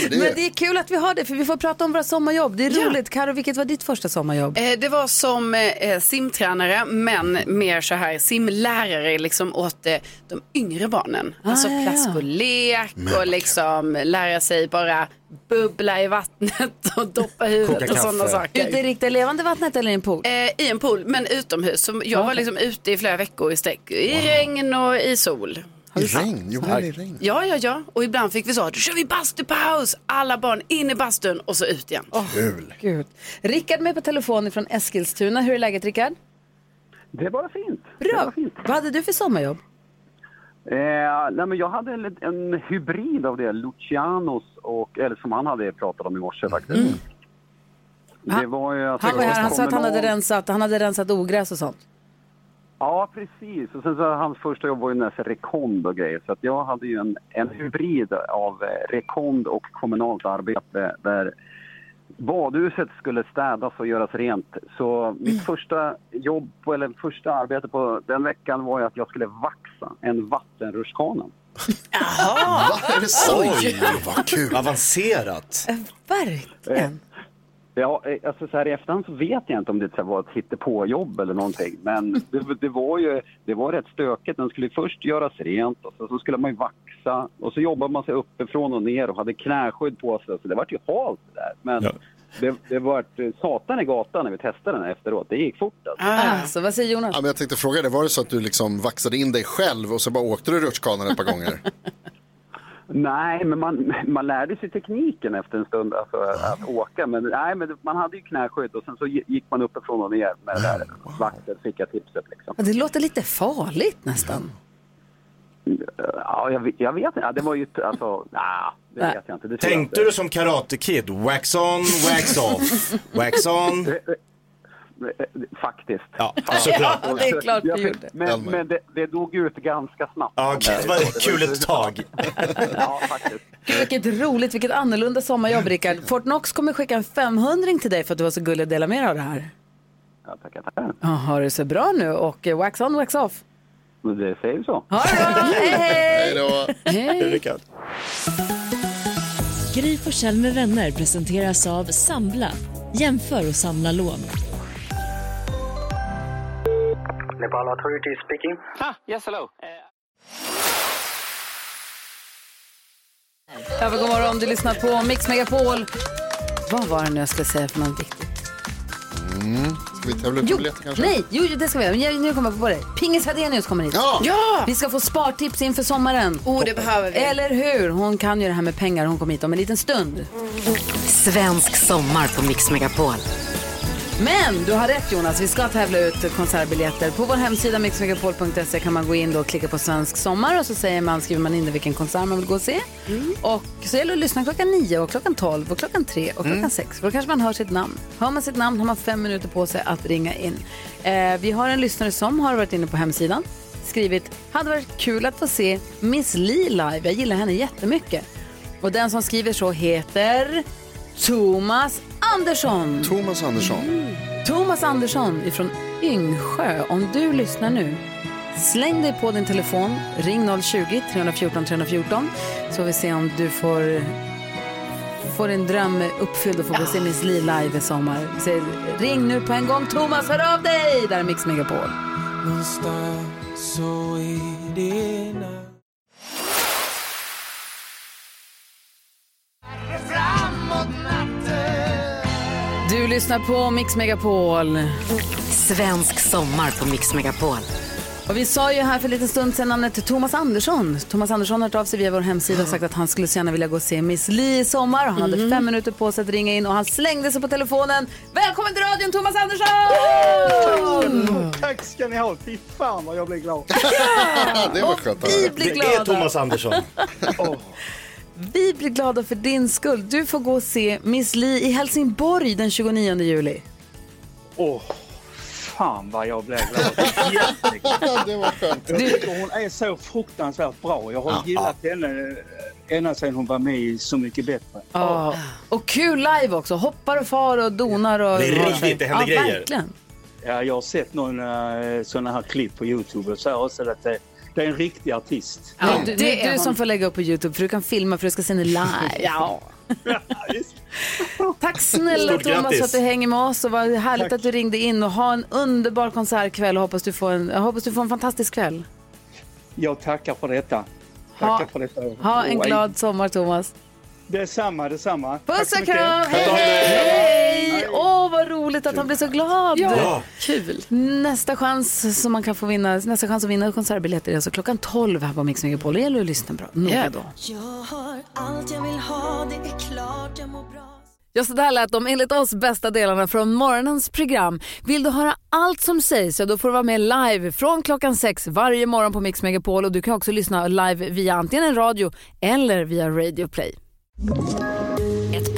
det-
Men det är kul att vi har det för vi får prata om våra sommarjobb. Det är roligt. Karo, vilket var ditt första sommarjobb?
Eh, Det var som eh, simtränare men mer så här simlärare liksom åt eh, de yngre barnen. alltså
Ah, ja, ja.
plats och lek och liksom lära sig bara bubbla i vattnet <laughs> och doppa huvudet och
kaffe.
sådana saker. Eh,
Ute i riktiga levande vattnet eller i en pool?
I en pool men utomhus. Så jag
Ja.
var liksom ute i flera veckor i sträck. I regn och i sol.
I regn? Gjorde ni det i regn?
Ja, ja, ja. Och ibland fick vi så att då kör vi bastupaus. Alla barn in i bastun och så ut igen.
Kul.
Gud. Rickard med på telefon från Eskilstuna. Hur är läget Rickard?
Det var fint.
Bra. Vad hade du för sommarjobb?
Eh, nej, men jag hade en, en hybrid av det, Lucianos, och, eller som han hade pratat om i morse faktiskt. Det var ju att
Han var
det
här, han sa att han hade
kommunal-
rensat, han hade rensat ogräs och sånt.
Ja, precis. Och sen så hans första jobb var ju nästan rekond och grejer. Så att jag hade ju en, en hybrid av eh, rekond och kommunalt arbete där badhuset skulle städas och göras rent. Så
Mm.
mitt första jobb, på- eller första arbete på den veckan var ju att jag skulle vaxa en vattenrutschkana.
Jaha!
Är det sant?
Oj,
vad kul!
Avancerat!
Verkligen.
Ja, eh, alltså så här i efterhand så vet jag inte om det så här var ett hittepåjobb eller någonting. Men det, det var ju det var rätt stökigt. Den skulle först göras rent och så, så skulle man ju vaxa. Och så jobbade man sig uppifrån och ner och hade knäskydd på sig. Så det vart ju halt det där. Men det, det vart eh, satan i gatan när vi testade den efteråt. Det gick fort alltså.
Alltså, vad säger Jonas?
Ja, men jag tänkte fråga dig, var det så att du liksom vaxade in dig själv och så bara åkte du rutschkanan ett par
<laughs>
gånger?
Nej, men man, man lärde sig tekniken efter en stund alltså, att åka. Men, nej, men man hade ju knäskydd och sen så gick man uppifrån och ner med det där vakten, fick jag tipset liksom.
Ja, Det låter lite farligt nästan.
Ja, jag, vet- jag vet inte. Ja, det var ju... t- Alltså, nej, det
Nej.
vet jag inte. Det tror jag
Tänkte
inte.
du som Karate Kid? Wax on,
<laughs>
wax off. Wax on.
Eh, Faktiskt.
Ja,
Ja.
såklart.
Och- jag fick- Men, men det, det dog ut ganska snabbt.
Ja, okej, det var kul ett tag.
ja, faktiskt.
Gud, vilket roligt, vilket annorlunda sommarjobb Rickard. Fortnox kommer skicka en 500 till dig för att du var så gullig att dela med dig av det här.
Ja, tackar, tackar.
Ja, ha det så bra nu och eh, wax on, wax off.
Men Det säger så.
Ha
<laughs>
det bra, hej!
Hej.
Rickard.
Gry Forssell med vänner presenteras av Sambla. Jämför och samla lån.
Nepal Authority speaking.
Ah, yes, hello.
Ja, men god morgon, du lyssnar på Mix Megapol. Vad var det nu jag skulle säga för något viktigt?
Mm. Ska vi tävla ut
Jo,
biljetter kanske?
nej, jo, det ska vi göra. Men Nu kommer jag på det. Pingis Hadenius kommer hit.
Ja!
Ja!
Vi ska få spartips inför sommaren.
Oh, det behöver vi.
Eller hur? Hon kan ju det här med pengar. Hon kommer hit om en liten stund.
Svensk sommar på Mix Megapol.
Men du har rätt Jonas, vi ska tävla ut konsertbiljetter. På vår hemsida mixmegapol.se kan man gå in då och klicka på svensk sommar och så säger man, skriver man in det vilken konsert man vill gå och se. Och så gäller det att lyssna klockan 9 och klockan 12 och klockan 3 och klockan
Mm.
6. För då kanske man hör sitt namn. Hör man sitt namn har man fem minuter på sig att ringa in. Eh, vi har en lyssnare som har varit inne på hemsidan, skrivit hade varit kul att få se Miss Li live. Jag gillar henne jättemycket. Och den som skriver så heter Thomas Andersson. Mm.
Thomas Andersson.
Thomas Andersson ifrån Yngsjö, om du lyssnar nu, släng dig på din telefon, ring 020-314 314 så får vi se om du får, får din dröm uppfylld och får gå och se Miss Li live i sommar. Så ring nu på en gång, Thomas, hör av dig! Där är Mix Megapol. Du lyssnar på Mix Megapol.
Svensk sommar på Mix Megapol.
Och vi sa ju här för en liten stund sedan namnet Thomas Andersson. Thomas Andersson har hört av sig via vår hemsida och sagt att han skulle så gärna vilja gå och se Miss Li i sommar. Och han
Mm.
hade fem minuter på sig att ringa in och han slängde sig på telefonen. Välkommen till radion Thomas Andersson!
Tack ska ni ha. Fy fan vad jag blir glad.
det var skönt att
Vi
höra.
blir Det är glada. Thomas
Andersson.
Vi blir glada för din skull. Du får gå och se Miss Li i Helsingborg den 29 juli.
<laughs> Åh, fan vad jag blev <laughs> glad.
det var skönt.
Jag tycker hon är så fruktansvärt bra. Jag har
Ja.
gillat henne eh, ända sedan hon var med i Så mycket bättre.
Ja. Och kul live också. Hoppar och far och donar. Och...
Det är riktigt, det händer
ja,
grejer.
Verkligen.
Ja, jag har sett några sådana här klipp på Youtube och så här också att det, det är en riktig artist.
<laughs> Ja, du, det är du som får lägga upp på Youtube för du kan filma för du ska se henne live.
Ja.
Tack snälla
Stort
Thomas
grattis.
för att du hänger med oss och vad härligt
Tack.
att du ringde in och ha en underbar konsertkväll och hoppas du får en, jag hoppas du får en fantastisk kväll.
Jag tackar för detta.
Ha-
Tackar för detta.
Ha en
Och-
glad sommar Thomas.
Detsamma, detsamma.
Puss
Tack så
och
mycket.
kram, hej hej! Åh vad roligt att han blev så glad.
Ja.
Kul. Nästa chans som man kan få vinna, nästa chans att vinna konsertbiljetter är alltså klockan 12 här på Mix Megapol. Det gäller att lyssna bra, noga då.
Jag har allt jag vill ha, det är klart jag mår bra
Ja, så där lät de enligt oss bästa delarna från morgonens program. Vill du höra allt som sägs så då får du vara med live från klockan sex varje morgon på Mix Megapol och du kan också lyssna live via antingen en radio eller via Radio Play.
Ett